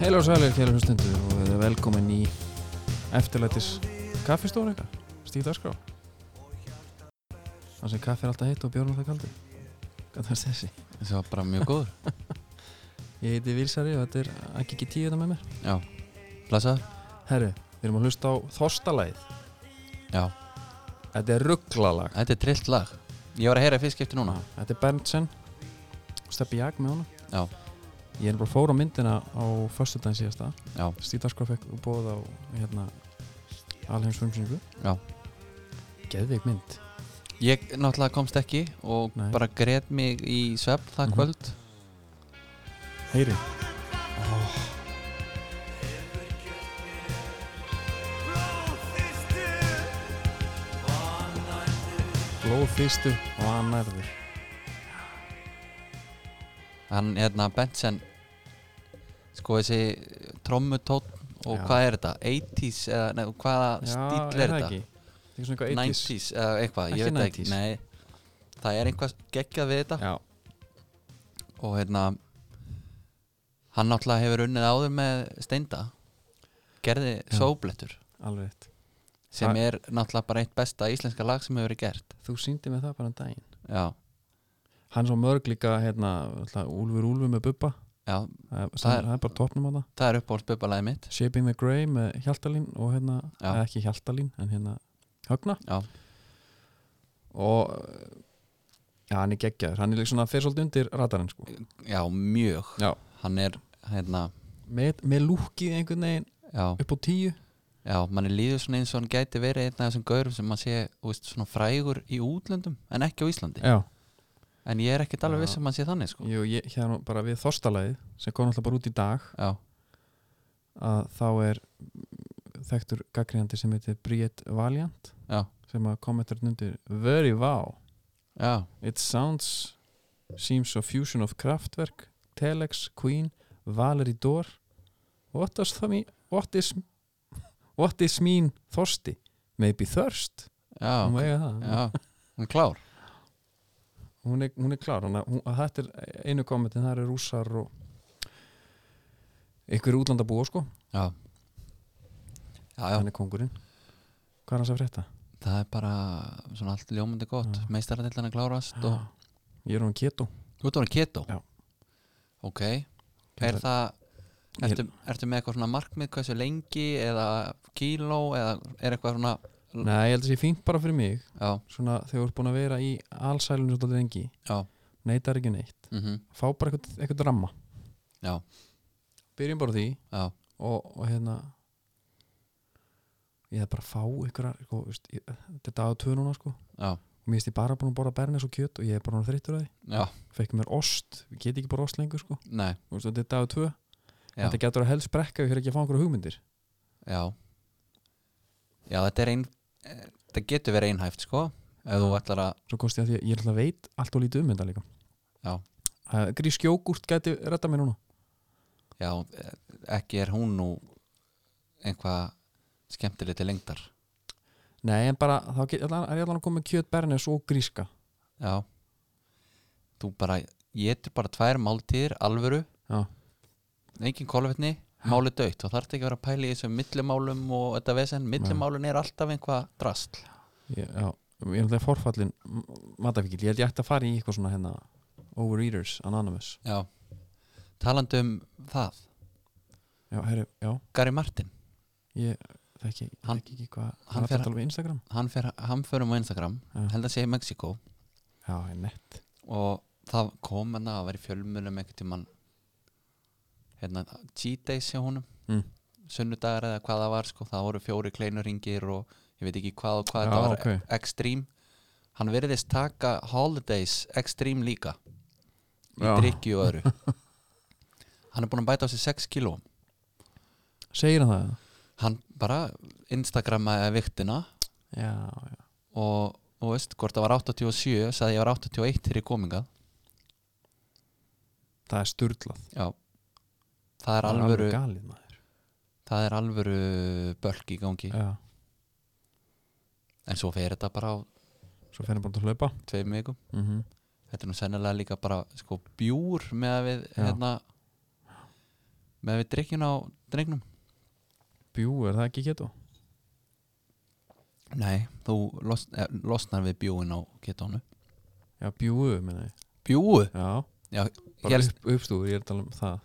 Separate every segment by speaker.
Speaker 1: Heilar og sælir, kæra hlustendur og við erum velkomin í eftirlætis kaffistóra eitthvað, stíð dagskrá Það sem kaffi er alltaf heitt og bjórnum það kaldi Hvað það er þessi?
Speaker 2: Þessi var bara mjög góður
Speaker 1: Ég heiti Vilsari og þetta er ekki ekki tíu þetta með mér
Speaker 2: Já, blessaður
Speaker 1: Herru, við erum að hlusta á Þorstalæð
Speaker 2: Já,
Speaker 1: Þetta er rugglalag
Speaker 2: þetta er trillt lag Ég var að heyra í fyrst skipti núna
Speaker 1: Þetta er Berntsen Steppi Jag með hana
Speaker 2: Já.
Speaker 1: Ég er bara fór á myndina á föstudaginn síðasta
Speaker 2: Já,
Speaker 1: Stíð dagskrá fekk bóð á hérna Alheims frumsýningu
Speaker 2: Já.
Speaker 1: Geðveik mynd
Speaker 2: ég náttúrulega komst ekki og
Speaker 1: Nei.
Speaker 2: bara greið mig í svefn það
Speaker 1: Mhm.
Speaker 2: kvöld
Speaker 1: Heyri Blóð fyrstu og annarður
Speaker 2: Hann, hérna, Benson Sko, þessi trommutótt og
Speaker 1: Já.
Speaker 2: hvað er þetta? 80s eða, nei, hvaða stíl er þetta?
Speaker 1: ekki? Það er ekki svona eitthvað 80s
Speaker 2: 90s eða
Speaker 1: Ekki
Speaker 2: eitthvað, ég veit það ekki
Speaker 1: 90s.
Speaker 2: Nei, það er einhvað geggjað við þetta
Speaker 1: Já,
Speaker 2: og hérna hann náttúrulega hefur unnið áður með steinda gerði
Speaker 1: Já.
Speaker 2: sóblettur
Speaker 1: alveg rétt
Speaker 2: sem
Speaker 1: Það-
Speaker 2: er náttúrulega bara eitt besta íslenska lag sem hefur verið gert
Speaker 1: Þú síndi mig það bara um daginn
Speaker 2: já,
Speaker 1: Hann svo mörg líka hérna alltaf, Úlfur Úlfur með Bubba
Speaker 2: já,
Speaker 1: Það er,
Speaker 2: Það er-
Speaker 1: það er bara topnum á það
Speaker 2: það er uppáhalds bubbalagið mitt
Speaker 1: Shaping the Grey með Hjaltalín og hérna,
Speaker 2: Já.
Speaker 1: eða ekki Hjaltalín en hérna Högna
Speaker 2: Já.
Speaker 1: og eh, já, hann er geggjaður, hann er líka svona fyrir svolítið undir radarinn sko
Speaker 2: já, mjög,
Speaker 1: Já.
Speaker 2: hann er hérna,
Speaker 1: með, með lúkið einhvern veginn
Speaker 2: já,
Speaker 1: upp á tíu
Speaker 2: já mann er líður svona eins og hann gæti verið einn af þessum gaurum sem maður sé, þú veist, svona frægur í útlöndum en ekki á Íslandi,
Speaker 1: já,
Speaker 2: en ég er ekkert
Speaker 1: Já.
Speaker 2: alveg viss að maður sé þannig, sko,
Speaker 1: Jú, ég, hérna bara við þorstalagið sem kom alltaf bara út í dag
Speaker 2: já,
Speaker 1: að þá er þektur gaggrinandi sem heitir Briett Valiant
Speaker 2: já,
Speaker 1: sem að kom eftir nundir Very Wow
Speaker 2: já
Speaker 1: It sounds seems a fusion of Kraftwerk, Telex, Queen, Valerie Dore What does that mean? What is, what is mean thorsti? Maybe thirst?
Speaker 2: já,
Speaker 1: hún,
Speaker 2: Ah, ok.
Speaker 1: okay. það.
Speaker 2: já, hann er klár
Speaker 1: Hún, er, hún er klár hana, hún, að þetta er einu kommentin, það eru rússar og ykkur útlandabúa sko,
Speaker 2: já, já, já
Speaker 1: hann er kongurinn Hvað er hans að frétta?
Speaker 2: það er bara svona allt ljómandi gott
Speaker 1: Já.
Speaker 2: meistaradildana klárast og
Speaker 1: Ég er hún keto
Speaker 2: þú ert orðin keto
Speaker 1: Já.
Speaker 2: ok, er það
Speaker 1: Ég-
Speaker 2: ertu, ertu með eitthvað svona markmið hversu lengi eða kíló eða er eitthvað svona
Speaker 1: Nei, ég held að sé fínt bara fyrir mig
Speaker 2: já,
Speaker 1: svona þegar þú ert búin að vera í allsælunum svolítið lengi,
Speaker 2: já,
Speaker 1: neitar ekki neitt
Speaker 2: mm
Speaker 1: fá bara eitthvað, eitthvað ramma
Speaker 2: Já.
Speaker 1: byrjum bara á því
Speaker 2: já,
Speaker 1: og, og hérna ég hef bara að fá eitthvað sko, veist, ég- þetta er dag á tvö núna sko
Speaker 2: já,
Speaker 1: og mér finnst ég bara búin að borða bernes og kjöt og ég er bara orðinn þreyttur á því,
Speaker 2: já,
Speaker 1: fekk mér ost ég get ekki bara ost lengur sko,
Speaker 2: nei
Speaker 1: Þú veist, þetta er dag á tvö
Speaker 2: já,
Speaker 1: þetta getur að helst brekka við fyrir ekki að fá einhverja hugmyndir
Speaker 2: já já, þetta er ein eh, þetta getur verið einhæft sko ef þú ætlar að,
Speaker 1: svo kosti að því að ég ætla að veit allt og lítið um þetta líka
Speaker 2: Já.
Speaker 1: uh, grískjókúrt gæti retta mér núna
Speaker 2: já, eh, ekki er hún nú einhvað skemmtileg til lengdar
Speaker 1: nei en bara þá get, allan, er ég allan að koma með kjöt bernes og gríska
Speaker 2: Já Þú bara, ég etur bara tvær máltíðir alvöru,
Speaker 1: já,
Speaker 2: engin kólvetni máli döitt og þarf ekki að vera að pæla í þessum millimálum og þetta vesen, millimálun er alltaf einhvað drasl
Speaker 1: ég, já, ég er alltaf forfallin matafíkil, ég held ég ætti að fara í eitthvað svona hérna Overeaters Anonymous
Speaker 2: Já, talandi um það
Speaker 1: já, herri, já,
Speaker 2: Gary Martin,
Speaker 1: ég þekki, ég
Speaker 2: Hann-
Speaker 1: þekki ekki hvað
Speaker 2: hann
Speaker 1: hann
Speaker 2: fer-
Speaker 1: fer að tala við Instagram
Speaker 2: hann fer hamförum á Instagram,
Speaker 1: Já.
Speaker 2: held að sé í Mexiko
Speaker 1: já, ég nett,
Speaker 2: og það kom hann að vera í fjölmunum einhvern tímann hérna, cheat days hjá honum
Speaker 1: Mm.
Speaker 2: sunnudagar eða hvað það var sko, það voru fjóri kleinuringir og ég veit ekki hvað og hvað
Speaker 1: Já,
Speaker 2: þetta var
Speaker 1: ok.
Speaker 2: extreme hann veriðist taka holidays extreme líka í
Speaker 1: Já.
Speaker 2: drikki og öðru hann er búin að bæta á sig 6 kíló
Speaker 1: segir hann það eða?
Speaker 2: hann bara instagrammaði viktina
Speaker 1: já, já,
Speaker 2: og, og veist, hvort það var 87 sagði ég var 81 til ég komingað
Speaker 1: það er sturglað
Speaker 2: já, það er alvöru
Speaker 1: galið maður
Speaker 2: það er alvöru bölk í gangi
Speaker 1: já,
Speaker 2: en svo fer þetta bara á
Speaker 1: svo fer hann bara út að hlaupa
Speaker 2: tveim vikum
Speaker 1: mm
Speaker 2: þetta er nú sennilega líka bara sko bjúr með að við
Speaker 1: Já.
Speaker 2: hérna með við drikkjun á drengnum
Speaker 1: Bjú, er það ekki keto?
Speaker 2: Nei, þú los, eh, losnar við bjúin á ketónu
Speaker 1: Já, bjúu, menna ég
Speaker 2: Bjúu?
Speaker 1: Já,
Speaker 2: Já,
Speaker 1: bara
Speaker 2: hélst,
Speaker 1: upp, uppstúður, ég er að tala um það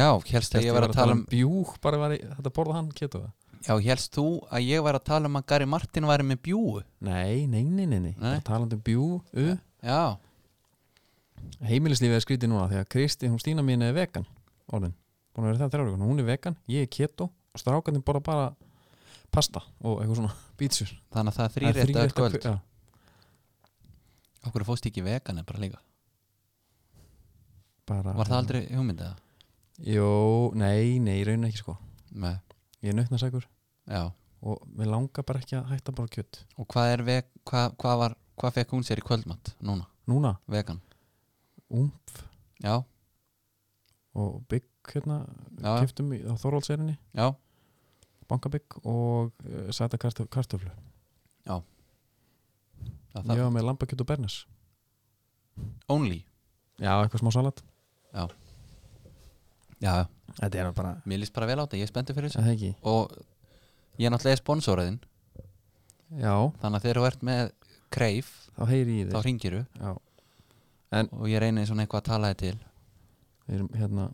Speaker 2: já, hélst að ég var að tala um
Speaker 1: bjúg, bara var ég, þetta borða hann keto það?
Speaker 2: Já, hélst þú að ég var að tala um að Gary Martin væri með bjúu?
Speaker 1: Nei, nei, nei, nei, nei.
Speaker 2: Nei.
Speaker 1: Bara talandi um bjú, u
Speaker 2: Já,
Speaker 1: Heimilislífið er skrítið núna því að Kristi, hún Stína mín er vegan orðin, búin að vera það þrjár ykkur hún er vegan, ég er keto og strákarnir borða bara pasta og eitthvað svona bítsur
Speaker 2: þannig að það er þrýrétta öll kvöld
Speaker 1: já.
Speaker 2: Okkur fóst ekki vegan bara líka
Speaker 1: bara,
Speaker 2: Var það aldrei hugmyndið?
Speaker 1: Jó, nei, nei, í raunin ekki sko
Speaker 2: Nei,
Speaker 1: ég er nautnarsækur
Speaker 2: já
Speaker 1: og mér langar bara ekki að hætta bara kjött
Speaker 2: Og hvað er veg, hvað, hvað var, hvað fekk hún sér í kvöldmatt núna?
Speaker 1: núna,
Speaker 2: Vegan?
Speaker 1: umf
Speaker 2: Já,
Speaker 1: og bygg hérna,
Speaker 2: Já.
Speaker 1: keftum á Þorvaldserinni
Speaker 2: já,
Speaker 1: bankabygg og uh, sæta kartöf, kartöflu
Speaker 2: það, það
Speaker 1: ég var með lambakjött og bernes
Speaker 2: Only,
Speaker 1: já, eitthvað smá salat
Speaker 2: já, já
Speaker 1: þetta er bara,
Speaker 2: Mér líst bara vel á þetta, ég er spenntið fyrir þessu
Speaker 1: það ekki
Speaker 2: Og ég er náttúrulega sponsóraðinn
Speaker 1: já,
Speaker 2: Þannig að þegar þú ert með kreif
Speaker 1: þá heyri ég í
Speaker 2: Þá
Speaker 1: þig
Speaker 2: hringiru
Speaker 1: Já,
Speaker 2: og ég reyni svona eitthvað að tala þið til
Speaker 1: við erum hérna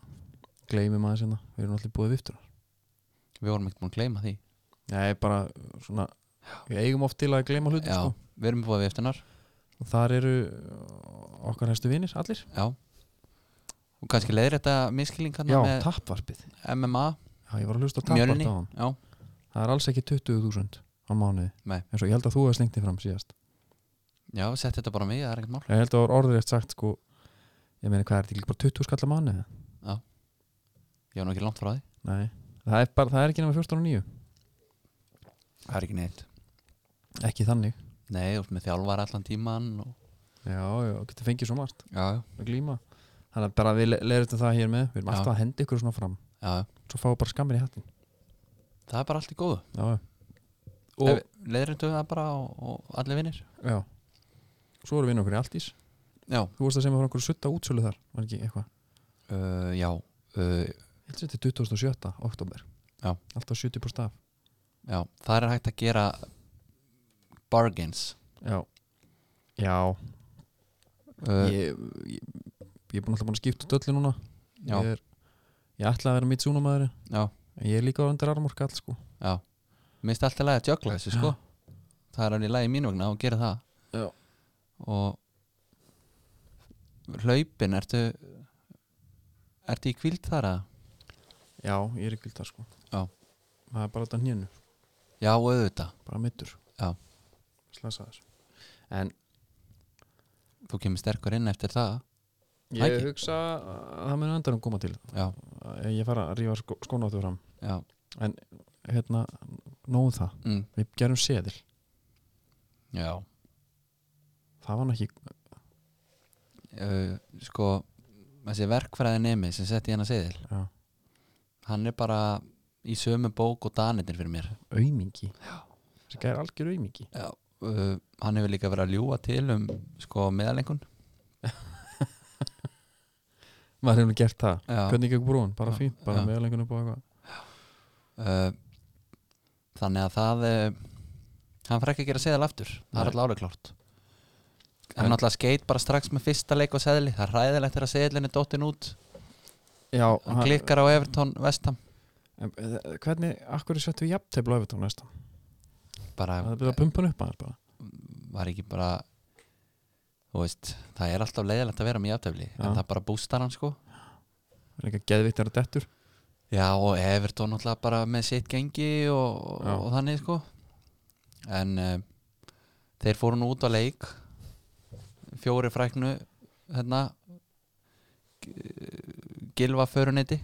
Speaker 1: gleymum aðeins hérna, við erum allir búið viftur
Speaker 2: Við vorum ekkert búin að gleyma því
Speaker 1: Nei, bara svona við eigum oft til að gleyma hlutum
Speaker 2: Já,
Speaker 1: sko.
Speaker 2: við erum búið við eftirnar
Speaker 1: og þar eru uh, okkar hæstu vinir, allir
Speaker 2: Já Og kannski leiðir þetta miskilingarna
Speaker 1: Já,
Speaker 2: með
Speaker 1: tappvarpið
Speaker 2: MMA
Speaker 1: Já, ég var að hlusta á
Speaker 2: Mjölni
Speaker 1: tappvarpið á hann
Speaker 2: Já,
Speaker 1: Það er alls ekki 20.000 á mánuði
Speaker 2: Nei.
Speaker 1: eins og ég held að þú hefði slengt þig fram síðast
Speaker 2: já, sett þetta bara á mig, það er ekkert mál
Speaker 1: Ég held að það var orðrétt sagt sko ég meina hvað er þetta, ekki bara 20 skall á mánuði
Speaker 2: Ég var nú ekki langt frá því
Speaker 1: Nei, það er, bara, það er ekki nema 14 og 9
Speaker 2: Það er ekki neitt
Speaker 1: Ekki þannig
Speaker 2: Nei, og með þjálfar allan tíman og...
Speaker 1: Já, já, getur fengið svo margt
Speaker 2: Já, já,
Speaker 1: að glíma Þannig að bara við le- leiðréttum það hér með við erum
Speaker 2: Já.
Speaker 1: alltaf að henda ykkur svona fram
Speaker 2: já
Speaker 1: svo fáum við bara skammir í hattin
Speaker 2: Það er bara allt í góðu
Speaker 1: já,
Speaker 2: og...
Speaker 1: Og-
Speaker 2: Leiðir þetta það bara og, og allir vinnir
Speaker 1: já. svo erum við nokkur í Altís
Speaker 2: Já,
Speaker 1: þú varst að segja mig frá einhverju sutta útsölu þar var ekki eitthvað,
Speaker 2: uh, já uh,
Speaker 1: ég held sér til 2007 oktober,
Speaker 2: Já.
Speaker 1: alltaf 70% af
Speaker 2: Já, það er hægt að gera bargains
Speaker 1: já, já.
Speaker 2: uh,
Speaker 1: Ég, ég, ég er búin alltaf búin að skipta út öllu núna
Speaker 2: Já.
Speaker 1: ég, er, ég ætla að vera mitt súnumæður
Speaker 2: Já,
Speaker 1: en ég er líka á undir armorka all sko
Speaker 2: já Mér finnst alltaf lægi að jökla þessu sko Það er alveg lægi mín vegna að gera það
Speaker 1: Já.
Speaker 2: Og Hlaupin, ertu Ertu í kvíld þar að
Speaker 1: já, ég er ykkur þar sko
Speaker 2: Já.
Speaker 1: það er bara þetta hnénu,
Speaker 2: Já, auðvitað
Speaker 1: bara mittur
Speaker 2: Já.
Speaker 1: slasaður en
Speaker 2: Þú kemur sterkur inn eftir það
Speaker 1: ég
Speaker 2: Ekki.
Speaker 1: hugsa að það muni endanum koma til
Speaker 2: Já,
Speaker 1: ég fara að rífa sko, skóna áttu fram
Speaker 2: já
Speaker 1: hérna, nóðum það,
Speaker 2: mm,
Speaker 1: við gerum seðil
Speaker 2: Já
Speaker 1: það var nú ekki,
Speaker 2: uh, Sko Þessi verkfræði nemi sem setti hérna seðil
Speaker 1: já,
Speaker 2: Hann er bara í sömu bók og danitir fyrir mér
Speaker 1: aumingi þessi gæri algjör aumingi
Speaker 2: Já, uh, hann hefur líka verið að ljúga til um sko meðalengun
Speaker 1: maður hefur nú gert það,
Speaker 2: Já,
Speaker 1: hvernig ekki brún bara
Speaker 2: Já.
Speaker 1: fínt, bara
Speaker 2: Já.
Speaker 1: með lengun upp á eitthvað
Speaker 2: uh, þannig að það uh, hann fær ekki að gera seðal aftur það er
Speaker 1: Nei.
Speaker 2: alltaf alveg klárt
Speaker 1: En-
Speaker 2: hann alltaf skeit bara strax með fyrsta leik og seðli það er ræðilegt þegar seðlinn er dottin út
Speaker 1: já,
Speaker 2: hann klikkar á Everton vestam
Speaker 1: en, eh, hvernig, akkur er sett við jafntefla öfitt á næsta,
Speaker 2: bara
Speaker 1: það er byrjað að pumpa hann upp aðeins bara
Speaker 2: var ekki bara þú veist, það er alltaf leiðilegt að vera með játtöfli en
Speaker 1: Já.
Speaker 2: það bara bústar hann sko
Speaker 1: það er eitthvað geðvikt að dettur
Speaker 2: já og Everton alltaf bara með sitt gengi og,
Speaker 1: Já.
Speaker 2: og þannig sko en uh, þeir fóru nú út á leik fjóri fræknu hérna G- Gylfa föruneti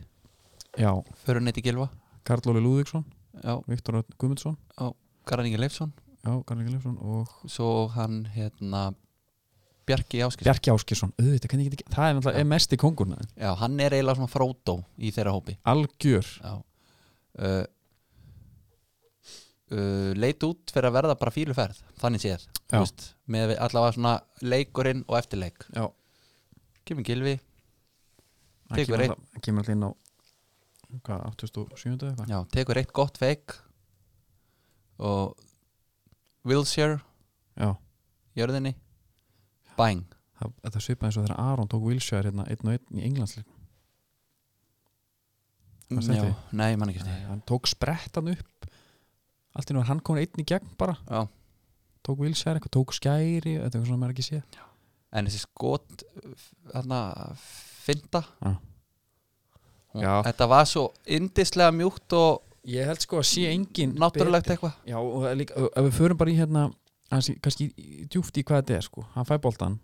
Speaker 1: já,
Speaker 2: föruneti Gylfa
Speaker 1: Karl Óli Lúðvíksson,
Speaker 2: já,
Speaker 1: Viktor Örn Guðmundsson
Speaker 2: Karan Inge Leifsson
Speaker 1: já, Garnir Leifsson og
Speaker 2: svo hann hérna Bjarki Áskis
Speaker 1: Bjarki Áskjesson, auðvitað, hvernig ég geti ekki- það er náttúrulega
Speaker 2: Já.
Speaker 1: er mest í kongurna,
Speaker 2: já, hann er eiginlega svona frótó í þeirra hópi
Speaker 1: algjör
Speaker 2: Já uh, uh, Leit út fyrir að verða bara fíluferð Þannig séð þú
Speaker 1: Já.
Speaker 2: veist, Með við- allavega svona leikurinn og eftirleik
Speaker 1: já,
Speaker 2: Kemur Gilvi
Speaker 1: hann
Speaker 2: Tekur
Speaker 1: kemur
Speaker 2: einn.
Speaker 1: alltaf- hann kemur alltaf inn á hvað, 87. eða eitthvað
Speaker 2: Já, tekur eitt gott feik og Wilshire
Speaker 1: já,
Speaker 2: jörðinni Bang
Speaker 1: það, þetta svipa eins og þegar Aron tók Wilshire hérna einn og einn í Englandsleik Fannst þetta
Speaker 2: Já,
Speaker 1: í?
Speaker 2: nei, mann ekki eftir því.
Speaker 1: hann tók sprettan upp allt í nú var hann komin einn í gegn bara
Speaker 2: Já,
Speaker 1: tók Wilshire, eitthvað tók skæri þetta er eitthvað sem maður ekki sé
Speaker 2: en þessi skot hérna, finta
Speaker 1: Já.
Speaker 2: Hún-
Speaker 1: Já.
Speaker 2: Þetta var svo indislega mjúkt og
Speaker 1: ég held sko að sé engin
Speaker 2: Mm, náttúrulegt eitthvað
Speaker 1: Já, og það er líka, ef við förum bara í hérna hans, kannski í- djúpt í hvað þetta er sko hann fæ boltan,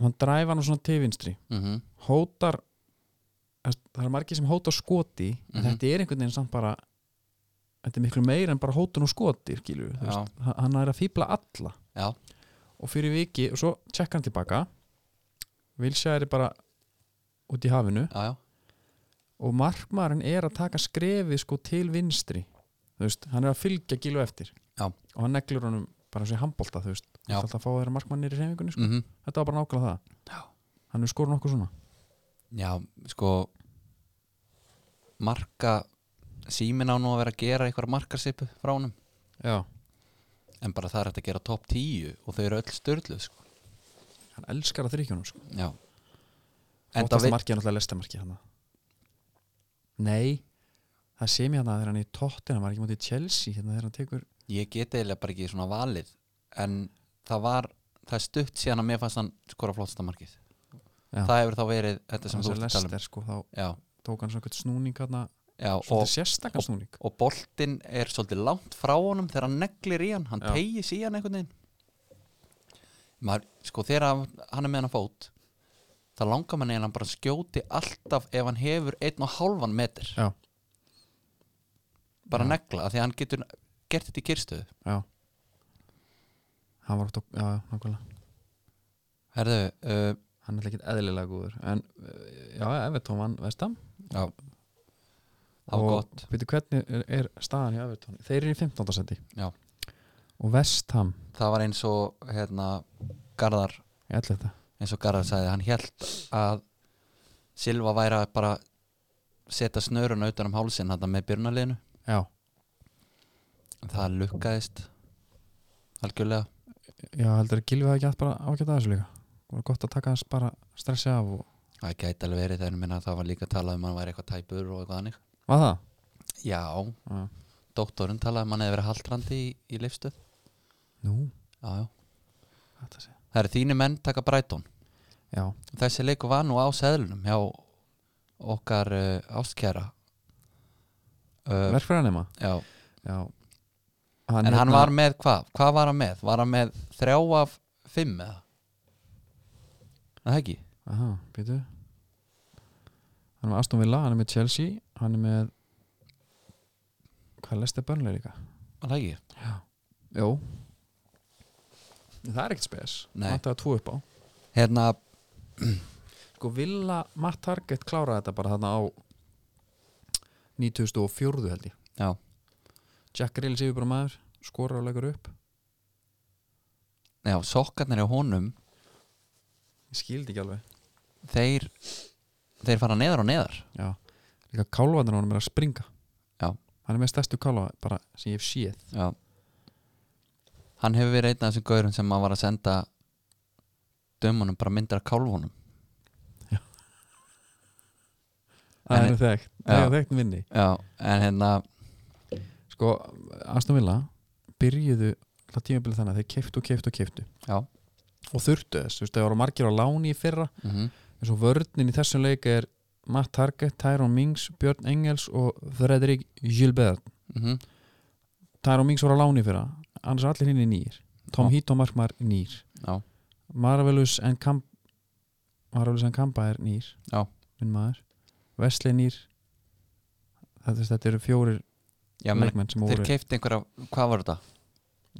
Speaker 1: hann dræfa hann á svona tefinstri,
Speaker 2: mm
Speaker 1: hótar það er margir sem hótar skoti en
Speaker 2: Mhm.
Speaker 1: þetta er einhvern veginn samt bara þetta er miklu meira en bara hótun og skoti skilur,
Speaker 2: Já.
Speaker 1: hann er að fýbla alla
Speaker 2: Já.
Speaker 1: og fyrir viki og svo tjekka hann tilbaka Vilsjæri bara út í hafinu
Speaker 2: Já, já,
Speaker 1: og markmaðurinn er að taka skrefið sko til vinstri þú veist, hann er að fylgja gilu eftir
Speaker 2: Já.
Speaker 1: og hann neglur honum bara sem handbolta þú veist,
Speaker 2: Já.
Speaker 1: Þú ert alltaf að fá þeirra markmannir í reyfingunni sko.
Speaker 2: mm
Speaker 1: þetta var bara nákvæmlega það
Speaker 2: Já.
Speaker 1: hann er skorun okkur svona
Speaker 2: já sko marka símin á nú að vera að gera eitthvað markarsipu frá honum
Speaker 1: Já.
Speaker 2: en bara það er hægt að gera topp 10 og þau eru öll störlu sko.
Speaker 1: hann elskar að þrykjunum sko.
Speaker 2: já en það
Speaker 1: óttast
Speaker 2: veit
Speaker 1: markið er náttúrulega lestamarkið hann nei það sé mér hann að þegar hann er í tóttin hann var ekki mútið í Chelsea hérna þegar hann tekur
Speaker 2: ég geti eiginlega bara ekki svona valið en það var, það er stutt síðan að mér fannst hann skora flottasta markið
Speaker 1: Já.
Speaker 2: það hefur þá verið þetta sem
Speaker 1: hann
Speaker 2: þú
Speaker 1: sem
Speaker 2: ert að tala um
Speaker 1: lester sko, þá
Speaker 2: já,
Speaker 1: tók hann svona eitthvað snúning hann
Speaker 2: já,
Speaker 1: svona
Speaker 2: og,
Speaker 1: sérstakann snúning
Speaker 2: og boltinn er svolítið langt frá honum þegar hann neglir í hann hann
Speaker 1: Já.
Speaker 2: tegir í hann einhvern veginn Maður, sko þegar hann hann er með hann að fót það langar mann eiginlega bara að skjóti alltaf ef hann hefur einn og hálfan metur
Speaker 1: Já.
Speaker 2: bara
Speaker 1: Já.
Speaker 2: negla af því að hann getur gert þetta í kyrstöðu
Speaker 1: já hann var oft á, já, já, nákvæmlega
Speaker 2: herðu, uh,
Speaker 1: hann er ekkert eðlilega góður en eh, já, Evertón vann Vestam
Speaker 2: Já. það var gott
Speaker 1: veitu hvernig er, er staðan í Evertón þeir eru í 15. sendi
Speaker 2: Já.
Speaker 1: og Vestam,
Speaker 2: það var eins og hérna, Garðar,
Speaker 1: ég ætla þetta
Speaker 2: eins og Garðar sagði hann held að Silva væri að bara setja snörun auðan um hálsinn þetta með byrnaliðinu
Speaker 1: já,
Speaker 2: en það lukkaðist algjörlega
Speaker 1: já heldur að Gylfi hafi ekki haft bara ágætt að þessu líka og gott að taka hans bara stressi af og
Speaker 2: það gæti alveg verið þegar minna það var líka talað um að hann væri eitthvað tæpur og eitthvað annig
Speaker 1: var það?
Speaker 2: já,
Speaker 1: Já.
Speaker 2: doktorinn talaði um að hann hefði verið haldrandi í, í lifstuð
Speaker 1: Nú,
Speaker 2: já, já.
Speaker 1: þetta sé
Speaker 2: það eru þínu menn taka Brighton
Speaker 1: já,
Speaker 2: þessi leiku var nú á seðlunum hjá okkar uh, ástkjæra uh,
Speaker 1: verkfæranema
Speaker 2: já
Speaker 1: já hérna-
Speaker 2: En hann hérna- var með hvað? Hvað var hann með? Var hann með þrjá af fimm eða? Er Það ekki?
Speaker 1: aha, býtu hann er með Aston Villa, hann er með Chelsea hann er með hvað lesti börnlega líka?
Speaker 2: Er Það ekki?
Speaker 1: Jó Það er ekkert spes
Speaker 2: Nei.
Speaker 1: Matta að tvo upp á
Speaker 2: Hérna,
Speaker 1: Sko vilja Matt Target klára þetta bara þarna á 2004 held ég
Speaker 2: já,
Speaker 1: Jack Grillis yfir bara maður skorar og leggur upp
Speaker 2: já sokkarnir á honum
Speaker 1: Ég skildi ekki alveg
Speaker 2: þeir, þeir fara neðar og neðar
Speaker 1: Já Líka kálvandur honum er að springa
Speaker 2: Já.
Speaker 1: Hann er með stærstu kálva bara sem ég hef séð
Speaker 2: Já Hann hefur verið einn af þessum gaurum sem maður var að senda dömunum bara myndir af kálfunum
Speaker 1: Það
Speaker 2: En-
Speaker 1: er þekkt
Speaker 2: Já.
Speaker 1: Það er þekkt minni
Speaker 2: Já, en hérna
Speaker 1: Sko Aston Villa byrjuðu Það tímabilið þannig að þeir keiftu og keiftu og keiftu
Speaker 2: Já,
Speaker 1: og þurftu þess, þú veist, það voru margir á láni í fyrra
Speaker 2: mm
Speaker 1: eins og vörninn í þessum leik er Matt Target, Tyrone Mings, Björn Engels og Fredrik Gilbert
Speaker 2: mhm.
Speaker 1: Tyrone Mings voru á láni fyrir annars eru allir hinn er nýr Tom
Speaker 2: Já.
Speaker 1: Heaton markmar nýr
Speaker 2: já,
Speaker 1: Marvelous and Kamp Marvelous and Kampa er nýr
Speaker 2: Já.
Speaker 1: minn maður Wesley nýr þetta, þú veist, þetta eru fjórir
Speaker 2: já meni,
Speaker 1: leikmenn sem
Speaker 2: þeir
Speaker 1: voru
Speaker 2: keifti einhverja, hvað var þetta?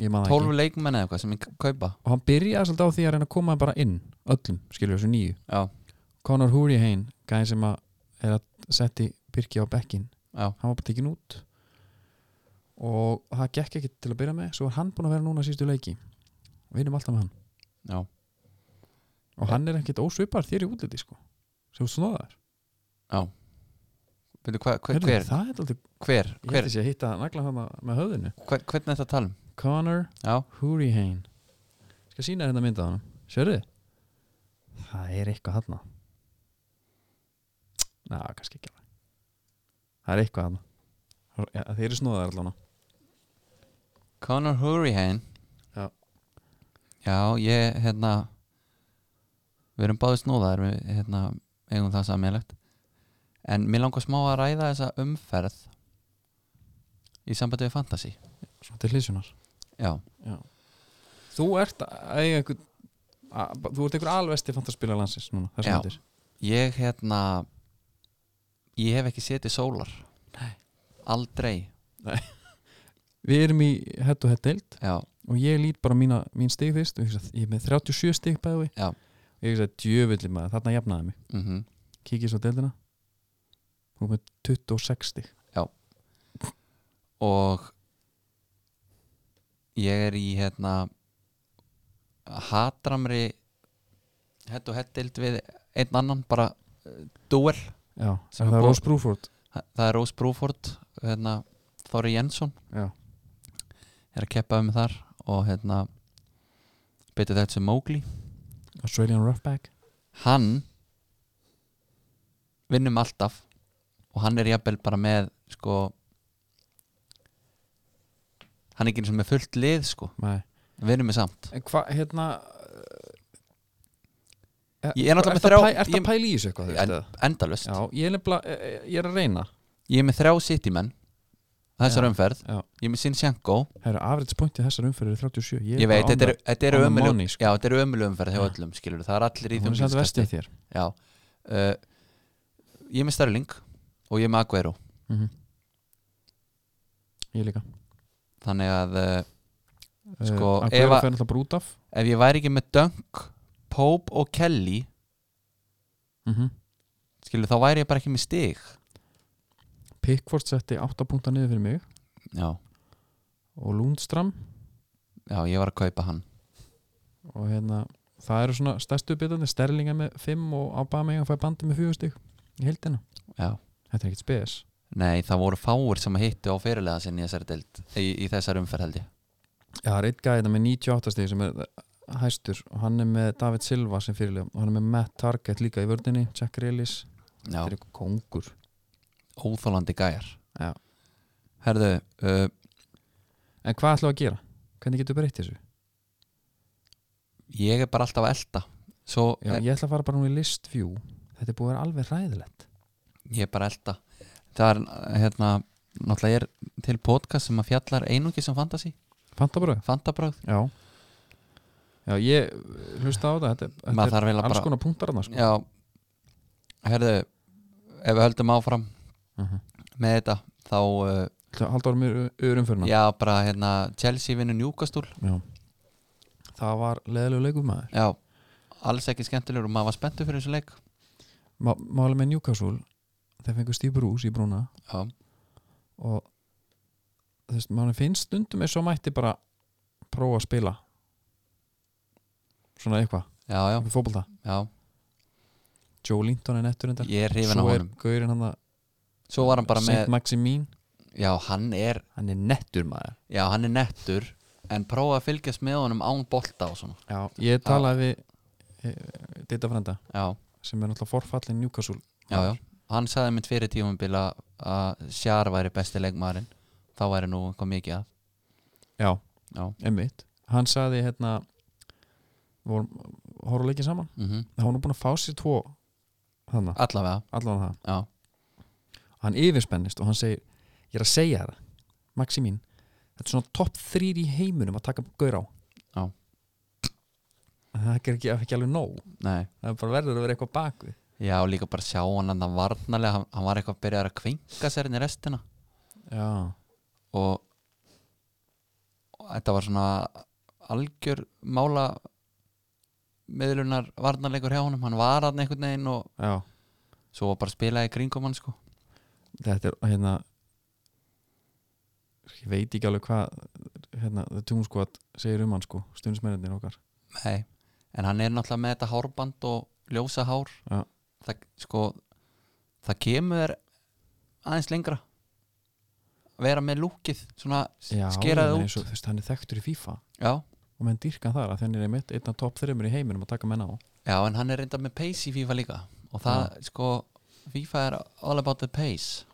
Speaker 1: ég man það
Speaker 2: 12
Speaker 1: ekki
Speaker 2: leikmenn eða eitthvað sem ég kaupa
Speaker 1: og hann byrjaði svolítið á því að reyna að koma þeim bara inn öllum, skilur þessu nýju
Speaker 2: Já,
Speaker 1: Conor Hurricane, gæði sem að er að setja Birki á bekkin
Speaker 2: já,
Speaker 1: hann var bara tekin út og það gekk ekki til að byrja með svo var hann búin að vera núna sístu leiki við erum alltaf með hann
Speaker 2: já
Speaker 1: og hann er ekkit ósvipar þér í útliti sko sem snóðar
Speaker 2: Já Byndu, hva, hver,
Speaker 1: Heyrðu,
Speaker 2: hver,
Speaker 1: það er aldrei,
Speaker 2: hver,
Speaker 1: ég
Speaker 2: hver,
Speaker 1: hætti sé að hitta nagla hana með höfðinu
Speaker 2: hver, hvernig er þetta að tala um?
Speaker 1: Connor
Speaker 2: Já,
Speaker 1: Hurricane Skal sína hérna mynda hann Sérðu? Það er eitthvað hann Ná, kannski ekki alveg Það er eitthvað hann ja, Þeir eru snóðar allan
Speaker 2: Conor Hurricane
Speaker 1: Já.
Speaker 2: Já, ég, hérna Við erum báðið snúðaðir Við, hérna, eigum það sammeilegt En mér langar smá að ræða þessa umferð Í sambandi við fantasy
Speaker 1: Svona til hlýsjunar
Speaker 2: Já,
Speaker 1: Þú ert að eiga einhver að, Þú ert einhver alvesti fantaspila landsins núna,
Speaker 2: Já.
Speaker 1: Já myndir.
Speaker 2: ég, hérna Ég hef ekki setið sólar
Speaker 1: Nei.
Speaker 2: Aldrei
Speaker 1: Við erum í hett og hett deild
Speaker 2: Já,
Speaker 1: og ég lít bara mína, mín stig fyrst og ég, hugsa, ég er með 37 stig bæði
Speaker 2: Já.
Speaker 1: og ég hugsa djöfulli maður, þarna jafnaði mig
Speaker 2: mhm
Speaker 1: kikið svo á deildina þú er með 26 stig
Speaker 2: og ég er í hérna hatramri hett og hett deild við einn annan bara uh, duel
Speaker 1: Já,
Speaker 2: Sem
Speaker 1: en það
Speaker 2: er
Speaker 1: er
Speaker 2: bó-
Speaker 1: Rose Bruford
Speaker 2: Þa- það er Rose Bruford hérna, Þóri Jensson
Speaker 1: Já,
Speaker 2: er að keppa um þar og hérna betur þetta sem Mowgli
Speaker 1: Australian Roughback
Speaker 2: hann vinnum alltaf og hann er jafnvel bara með sko hann er ekki eins og með fullt lið sko
Speaker 1: Nei.
Speaker 2: vinnum við samt
Speaker 1: En hvað, hérna eh,
Speaker 2: Ég er
Speaker 1: ertu
Speaker 2: náttúrulega með þrjá-
Speaker 1: að pæ- Ertu
Speaker 2: ég-
Speaker 1: að pæla í þessu eitthvað? þú veist,
Speaker 2: En-
Speaker 1: eða?
Speaker 2: endalust
Speaker 1: Já, ég er nefnilega, eh, eh, ég er að reyna
Speaker 2: ég er með þrjá sittimenn þessar
Speaker 1: Já,
Speaker 2: umferð,
Speaker 1: já.
Speaker 2: ég er með Sinchenko
Speaker 1: Það eru afritspointið þessar umferðir 37
Speaker 2: ég veit, þetta eru- þetta eru
Speaker 1: on the
Speaker 2: ömurleg-
Speaker 1: money, sko.
Speaker 2: já, þetta eru ömulum umferð hjá
Speaker 1: Já.
Speaker 2: öllum, skilur það er allir í
Speaker 1: Hún er sætt vestið þér
Speaker 2: já uh, ég er með Sterling og ég er með Aguero
Speaker 1: Mhm. Ég líka
Speaker 2: þannig að uh,
Speaker 1: Eh,
Speaker 2: Sko,
Speaker 1: Aguero
Speaker 2: ef að-
Speaker 1: fer náttúrulega bara út af
Speaker 2: ef ég væri ekki með Dunk Pope og Kelly
Speaker 1: Mhm.
Speaker 2: skilur, þá væri ég bara ekki með stig
Speaker 1: Pickford setti 8 púnta niður fyrir mig
Speaker 2: já,
Speaker 1: og Lundstram
Speaker 2: já, ég var að kaupa hann
Speaker 1: og hérna, það eru svona stærstu bitandi Sterlinga með 5 og Aubameyang fæ bandi með 4 stig í heildina
Speaker 2: já
Speaker 1: Þetta er ekkert spes
Speaker 2: Nei, það voru fáir sem hittu á fyrirlega sinni í þessari, deild, í, í þessari umferð held ég
Speaker 1: Já, það er einn gæðina með 98 stíð sem er hæstur og hann er með David Silva sem fyrirlega og hann er með Matt Target líka í vördinni Jack Reelis,
Speaker 2: Já.
Speaker 1: þetta er eitthvað kongur
Speaker 2: óþólandi gæjar
Speaker 1: Já.
Speaker 2: Herðu, uh,
Speaker 1: En hvað ætlum við að gera? Hvernig getur breytt þessu?
Speaker 2: ég er bara alltaf að elta Svo eh,
Speaker 1: Já,
Speaker 2: er,
Speaker 1: ég ætla að fara bara nú í list view Þetta er búið að vera alveg ræðilegt
Speaker 2: ég er bara að elta Það er, hérna, náttúrulega ég er til podcast sem að fjallar um einungi sem fantasi
Speaker 1: Fantabröð?
Speaker 2: Fantabröð,
Speaker 1: Já Já, ég hlusta á það Þetta, þetta
Speaker 2: maður þarf
Speaker 1: er
Speaker 2: eiginlega
Speaker 1: alls
Speaker 2: bara
Speaker 1: konar punktar annars sko.
Speaker 2: Já, herðu ef við höldum áfram
Speaker 1: uh -huh.
Speaker 2: með þetta þá, uh,
Speaker 1: Haldur mér öðrum fyrir
Speaker 2: já, bara hérna Chelsea vinnur njúkastúl
Speaker 1: Já Það var leðilegu leikum maður
Speaker 2: Já, alls ekki skemmtilegur og maður var spenntur fyrir þessu leik
Speaker 1: Má- Málið með Newcastle Þeir fengur Steve Bruce í brúna
Speaker 2: Já,
Speaker 1: og þú veist, mann finnst stundum eins og mætti bara prófa að spila svona eitthvað,
Speaker 2: já, já,
Speaker 1: eitthvað fótbolta
Speaker 2: já
Speaker 1: Joe Linton er nettur endar
Speaker 2: Ég er hrifin á
Speaker 1: svo er
Speaker 2: honum
Speaker 1: gaurinn hann að
Speaker 2: Svo var hann bara
Speaker 1: St.
Speaker 2: með,
Speaker 1: Maximin
Speaker 2: já, hann er
Speaker 1: hann er nettur maður
Speaker 2: Já, hann er nettur en prófa að fylgjast með honum án bolta og svona
Speaker 1: Já, ég talaði við Dita Frenda
Speaker 2: Já,
Speaker 1: sem er náttúrulega forfallin Newcastle
Speaker 2: já, já Hann sagði mitt fyrir tímumbil að- að Sjar væri besti leikmaðurinn þá væri nú eitthvað mikið að
Speaker 1: Já,
Speaker 2: Já.
Speaker 1: einmitt Hann sagði hérna við vorum horfum leikið saman
Speaker 2: mm
Speaker 1: það var nú búin að fá sér tvo þannig,
Speaker 2: Allavega,
Speaker 1: allan það
Speaker 2: já,
Speaker 1: hann yfirspennist og hann segir ég er að segja það, Maximín þetta er svona topp þrýr í heiminum að taka gaur á
Speaker 2: Já.
Speaker 1: En það er ekki, ekki alveg nóg
Speaker 2: nei
Speaker 1: það er bara verður að vera eitthvað bakvið
Speaker 2: Já, og líka bara sjá hann að það varnalega hann, hann var eitthvað að byrja að kvinka sér inn í restina
Speaker 1: já,
Speaker 2: og, og þetta var svona algjör mála meðlunar varnarleikur hjá honum hann var hann einhvern veginn og
Speaker 1: já
Speaker 2: svo var bara að spila í kringum hann sko
Speaker 1: þetta er hérna ég veit ekki alveg hvað hérna, The Tomb Squad segir um hann sko stundismennir okkar
Speaker 2: Nei, en hann er náttúrulega með þetta hárband og ljósa hár
Speaker 1: Já.
Speaker 2: það, sko, það kemur aðeins lengra vera með lúkið svona
Speaker 1: Já,
Speaker 2: skera
Speaker 1: ég meina
Speaker 2: það
Speaker 1: eins
Speaker 2: út
Speaker 1: og, þú veist, hann er þekktur í FIFA
Speaker 2: já,
Speaker 1: og menn dýrkan þar að þenni er einmitt einn af topp þreymur í heiminum að taka menn á
Speaker 2: já, en hann er reynda með pace í FIFA líka og það, sko, FIFA er all about the pace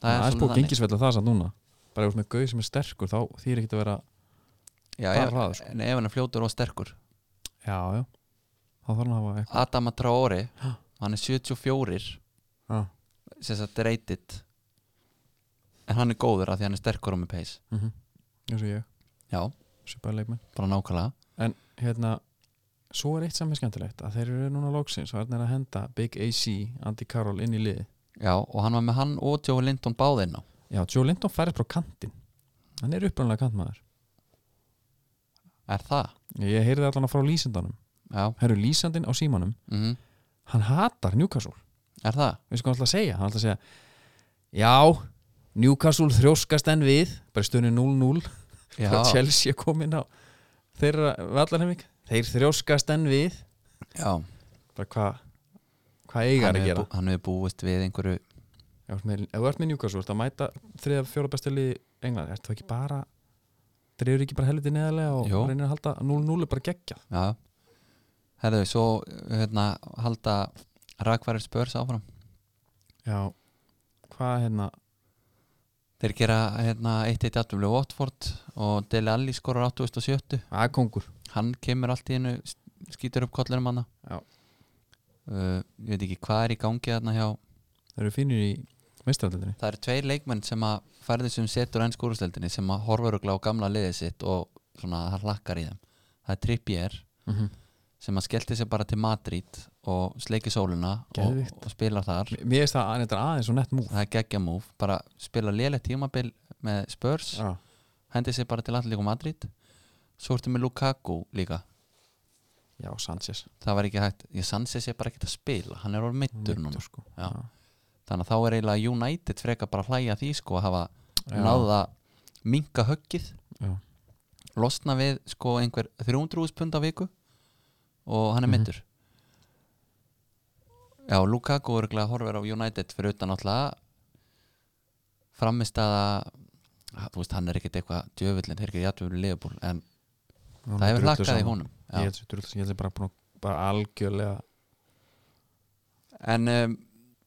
Speaker 1: það er
Speaker 2: svolítið
Speaker 1: spúið
Speaker 2: þannig.
Speaker 1: gengisvelda það samt núna bara ef þú ert með gauð sem er sterkur þá þýr ekki að vera
Speaker 2: já,
Speaker 1: bara
Speaker 2: ef,
Speaker 1: hraður, sko.
Speaker 2: en ef hann er fljótur og sterkur
Speaker 1: já, já, þá þarf hann að hafa eitthvað
Speaker 2: Adama Traore,
Speaker 1: Ha.
Speaker 2: hann er 74
Speaker 1: Já.
Speaker 2: sem sagt reytitt en hann er góður af því hann er sterkur og með pace
Speaker 1: mm eins og ég,
Speaker 2: já,
Speaker 1: sem bara leikmenn
Speaker 2: bara nákvæmlega
Speaker 1: en hérna, svo er eitt saman skemmtilegt að þeir eru núna loksins og þannig er að henda Big AC, Andy Carroll inn í liði
Speaker 2: já, og hann var með hann og Joe Linton báðinn á
Speaker 1: já, Joe Linton færið frá kantinn hann er upprannlega kantmaður
Speaker 2: er það?
Speaker 1: ég heyrði allan frá lýsindanum
Speaker 2: já,
Speaker 1: herru lýsandinn á símanum,
Speaker 2: mm
Speaker 1: hann hatar Newcastle
Speaker 2: er það?
Speaker 1: veistu hvað hann ætla að segja, hann ætla að segja já, Newcastle þrjóskast enn við bara stunni 0-0
Speaker 2: já,
Speaker 1: að Chelsea er komin á þeirra vallarhemming þeir þrjóskast enn við
Speaker 2: já.
Speaker 1: bara hvað hvað eiga að
Speaker 2: hann hefur
Speaker 1: gera
Speaker 2: bú- hann hefur búist við einhverju
Speaker 1: Ef þú ert með- ef þú ert með Newcastle, þú ert að mæta þriða fjóra bestu lið England, ert þú ekki bara dreifur ekki bara helviti neðarlega og
Speaker 2: Jó.
Speaker 1: reynir að halda 0-0 er bara geggja
Speaker 2: já, herðu, svo hérna, halda rakvarir spörs áfram
Speaker 1: já, hvað hérna
Speaker 2: þeir gera hérna, 1-1 aftur við Watford og Dele Alli skorar 8.70
Speaker 1: að kongur,
Speaker 2: hann kemur allt í hennu skýtur upp kollinum hana
Speaker 1: Já.
Speaker 2: uh, ég veit ekki hvað er í gangi þarna hjá
Speaker 1: þeir eru fínir í meistaraldinni
Speaker 2: það eru tveir leikmenn sem að færðu sem setur enn skúrúsleldinni sem að horfur og glá gamla liðið sitt og svona það hlakkar í þeim það er Trippier
Speaker 1: mm
Speaker 2: sem að skellti sér bara til Madrid og sleiki sóluna og,
Speaker 1: Geðvikt.
Speaker 2: og spila þar
Speaker 1: mér finnst það að þetta er aðeins og nett múf
Speaker 2: það er geggja múf, bara spila lélegt tímabil með Spurs,
Speaker 1: já,
Speaker 2: hendi sér bara til Atletico Madrid svo ertu með Lukaku líka
Speaker 1: já Sanchez
Speaker 2: það var ekki hægt, ég sansi sér bara ekki að spila hann er orðið meittur núna
Speaker 1: sko.
Speaker 2: Já. þannig að þá er eiginlega United frekar bara að hlæja að því sko að hafa náða minka höggið
Speaker 1: Já.
Speaker 2: losna við sko einhver 300 pund á viku og hann er
Speaker 1: Mhm.
Speaker 2: myndur já, Lukaku er glæð horfir á United fyrir utan alltaf framist að þú veist, hann er ekkert eitthvað djöfullin, þeir eru ekki í liðbúl en
Speaker 1: Núna
Speaker 2: það hefur
Speaker 1: drullu
Speaker 2: lakkað í
Speaker 1: saman.
Speaker 2: honum
Speaker 1: ég
Speaker 2: já.
Speaker 1: held sér drull, ég held sér bara, búin að- bara algjörlega
Speaker 2: en um,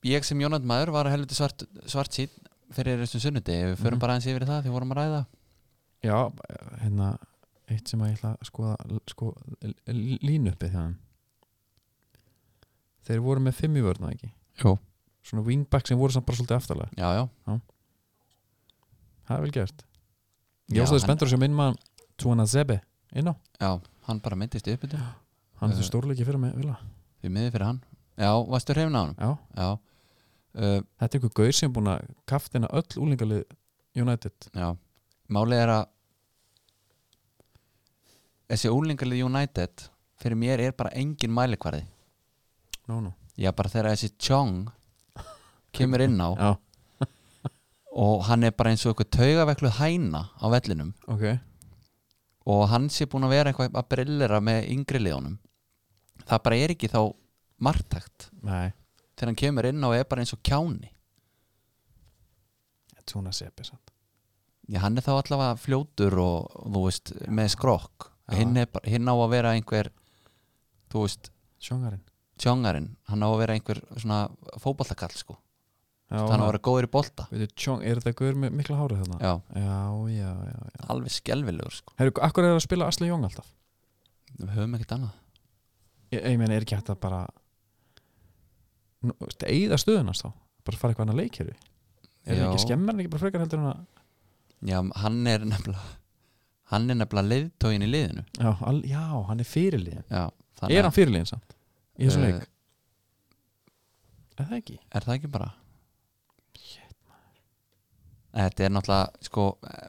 Speaker 2: ég sem Jónat maður var að helviti svart, svart sín fyrir þessum sunnudegi, við
Speaker 1: Mhm.
Speaker 2: förum bara aðeins yfir það því vorum að ræða
Speaker 1: já, hérna eitt sem að ég ætla að skoða sko, línu uppið hjá þeim þeir voru með fimm í vörna ekki
Speaker 2: Jó.
Speaker 1: svona wingback sem voru samt bara svolítið aftalega
Speaker 2: já, já,
Speaker 1: það er vel gert
Speaker 2: Já,
Speaker 1: ég ástæði
Speaker 2: hann-
Speaker 1: spenntur sem minn mann Tuana Zebe inn á
Speaker 2: já, hann bara myndist upp þetta
Speaker 1: hann er
Speaker 2: Eh.
Speaker 1: til stórleiki fyrir mig vilja.
Speaker 2: Því miður fyrir hann Já, varstu hrifna á hann?
Speaker 1: já,
Speaker 2: Já uh,
Speaker 1: þetta er einhver gaur sem er búin að kaftina öll úlingalið United
Speaker 2: Já Málið er að Þessi úlingalið United Fyrir mér er bara engin mælikvarði
Speaker 1: no, no.
Speaker 2: Já, bara þegar þessi Chong Kemur inn á
Speaker 1: já,
Speaker 2: Og hann er bara eins og eitthvað taugavekluð hæna Á vellinum
Speaker 1: ok
Speaker 2: Og hann sé búin að vera eitthvað að brillera Með yngri liðunum Það bara er ekki þá margtækt
Speaker 1: nei,
Speaker 2: Þegar hann kemur inn á og er bara eins og kjáni
Speaker 1: Tuana Zebe samt
Speaker 2: Já, hann er þá allavega fljótur og þú veist, með skrokk
Speaker 1: Já.
Speaker 2: hinn, er bara- hinn á að vera einhver þú veist,
Speaker 1: sjóngarinn
Speaker 2: tjóngarinn hann á að vera einhver svona fótboltakall sko,
Speaker 1: já,
Speaker 2: hann á að vera góður í bolta
Speaker 1: veitu, Tjong, er þetta gaur með mikla hárið þarna
Speaker 2: já,
Speaker 1: já, já, já, já.
Speaker 2: alveg skelvilegur sko
Speaker 1: Herru, akkur er það að spila Asli Jón alltaf?
Speaker 2: við höfum ekkert annað
Speaker 1: Ég, ég meina, er ekki hægt að bara Nú, veistu, eigða stöðun hans þá bara fara eitthvað annað leikherfi er það
Speaker 2: Já.
Speaker 1: ekki skemmar en ekki bara frekar heldur en að
Speaker 2: já, hann er nefnilega hann er nefnilega leiðtógin í liðinu
Speaker 1: já, al, já hann er fyrirliðin
Speaker 2: já,
Speaker 1: er hann fyrirliðin samt? í þessum
Speaker 2: Eh,
Speaker 1: leik, er það ekki?
Speaker 2: er það ekki bara þetta er náttúrulega sko,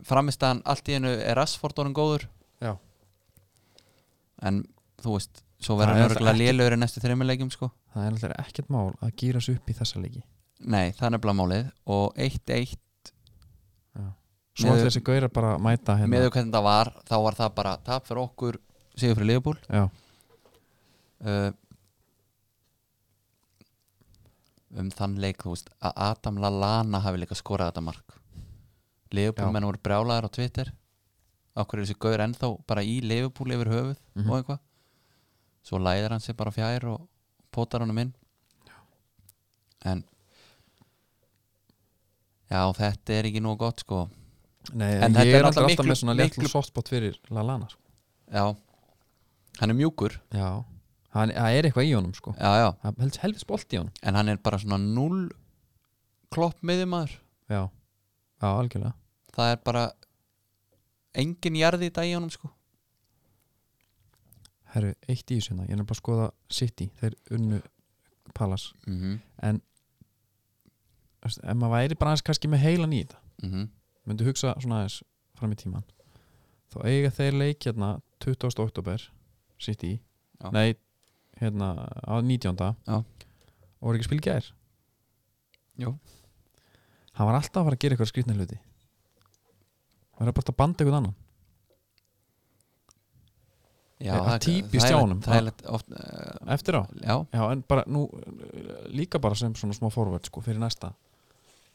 Speaker 2: framistaðan allt í hennu er Rashford orðin góður
Speaker 1: Já.
Speaker 2: en þú veist svo
Speaker 1: Það
Speaker 2: verður
Speaker 1: er
Speaker 2: hann örgulega
Speaker 1: ekki-
Speaker 2: lélugur í næstu þreymulegjum sko.
Speaker 1: það er alltaf ekkert mál að gýra sig upp í þessa leiki
Speaker 2: nei, það er nefnilega málið og 1-1,
Speaker 1: svo
Speaker 2: Miður-
Speaker 1: alltaf þessi gaurar bara að mæta hérna
Speaker 2: meðu hvernig það var þá var það bara tap fyrir okkur sigur fyrir Leopold Eh,
Speaker 1: já,
Speaker 2: uh, um þann leik þú veist, að Adam Lallana hafi líka skorað þetta mark
Speaker 1: Já.
Speaker 2: Leifupúlmenn voru brjálaðar á Twitter okkur er þessi gaur ennþá bara í Leifupúl yfir höfuð
Speaker 1: Mhm.
Speaker 2: og eitthvað svo læðir hann sér bara fjær og potar honum inn en já þetta er ekki nú gott sko
Speaker 1: Nei,
Speaker 2: En
Speaker 1: en
Speaker 2: þetta
Speaker 1: ég
Speaker 2: er
Speaker 1: er alltaf
Speaker 2: náttúrulega
Speaker 1: alltaf
Speaker 2: miklu-
Speaker 1: með svona léttlum
Speaker 2: miklu-
Speaker 1: softbot fyrir Lallana sko.
Speaker 2: já, hann er mjúkur
Speaker 1: Já, Hann- það er eitthvað í honum sko
Speaker 2: já, já.
Speaker 1: Það helst helfis bolt í honum
Speaker 2: en hann er bara svona null klopp miðjumæður
Speaker 1: Já, já algjörlega
Speaker 2: það er bara engin jarði í dag í honum sko
Speaker 1: Herru, eitt í þessu hérna, ég er bara að skoða City, þeir unnu Palace
Speaker 2: mm -hmm.
Speaker 1: en þú veist, ef maður væri bara aðeins kannski með heilan í þetta
Speaker 2: mhm.
Speaker 1: myndi hugsa svona aðeins fram í tíman þá eiga þeir leik hérna 20. oktober City,
Speaker 2: Já.
Speaker 1: nei hérna á 19.
Speaker 2: Já.
Speaker 1: og voru ekki að spila í gær
Speaker 2: Jú.
Speaker 1: Hann var alltaf að fara að gera eitthvað skrýtna hluti Það er bara að banda eitthvað annan
Speaker 2: já,
Speaker 1: Það er típist
Speaker 2: það
Speaker 1: hjá
Speaker 2: er-
Speaker 1: honum.
Speaker 2: það er lett oft uh,
Speaker 1: Eftir á
Speaker 2: já,
Speaker 1: Já, en bara nú eh, líka bara sem svona smá forvörð sko fyrir næsta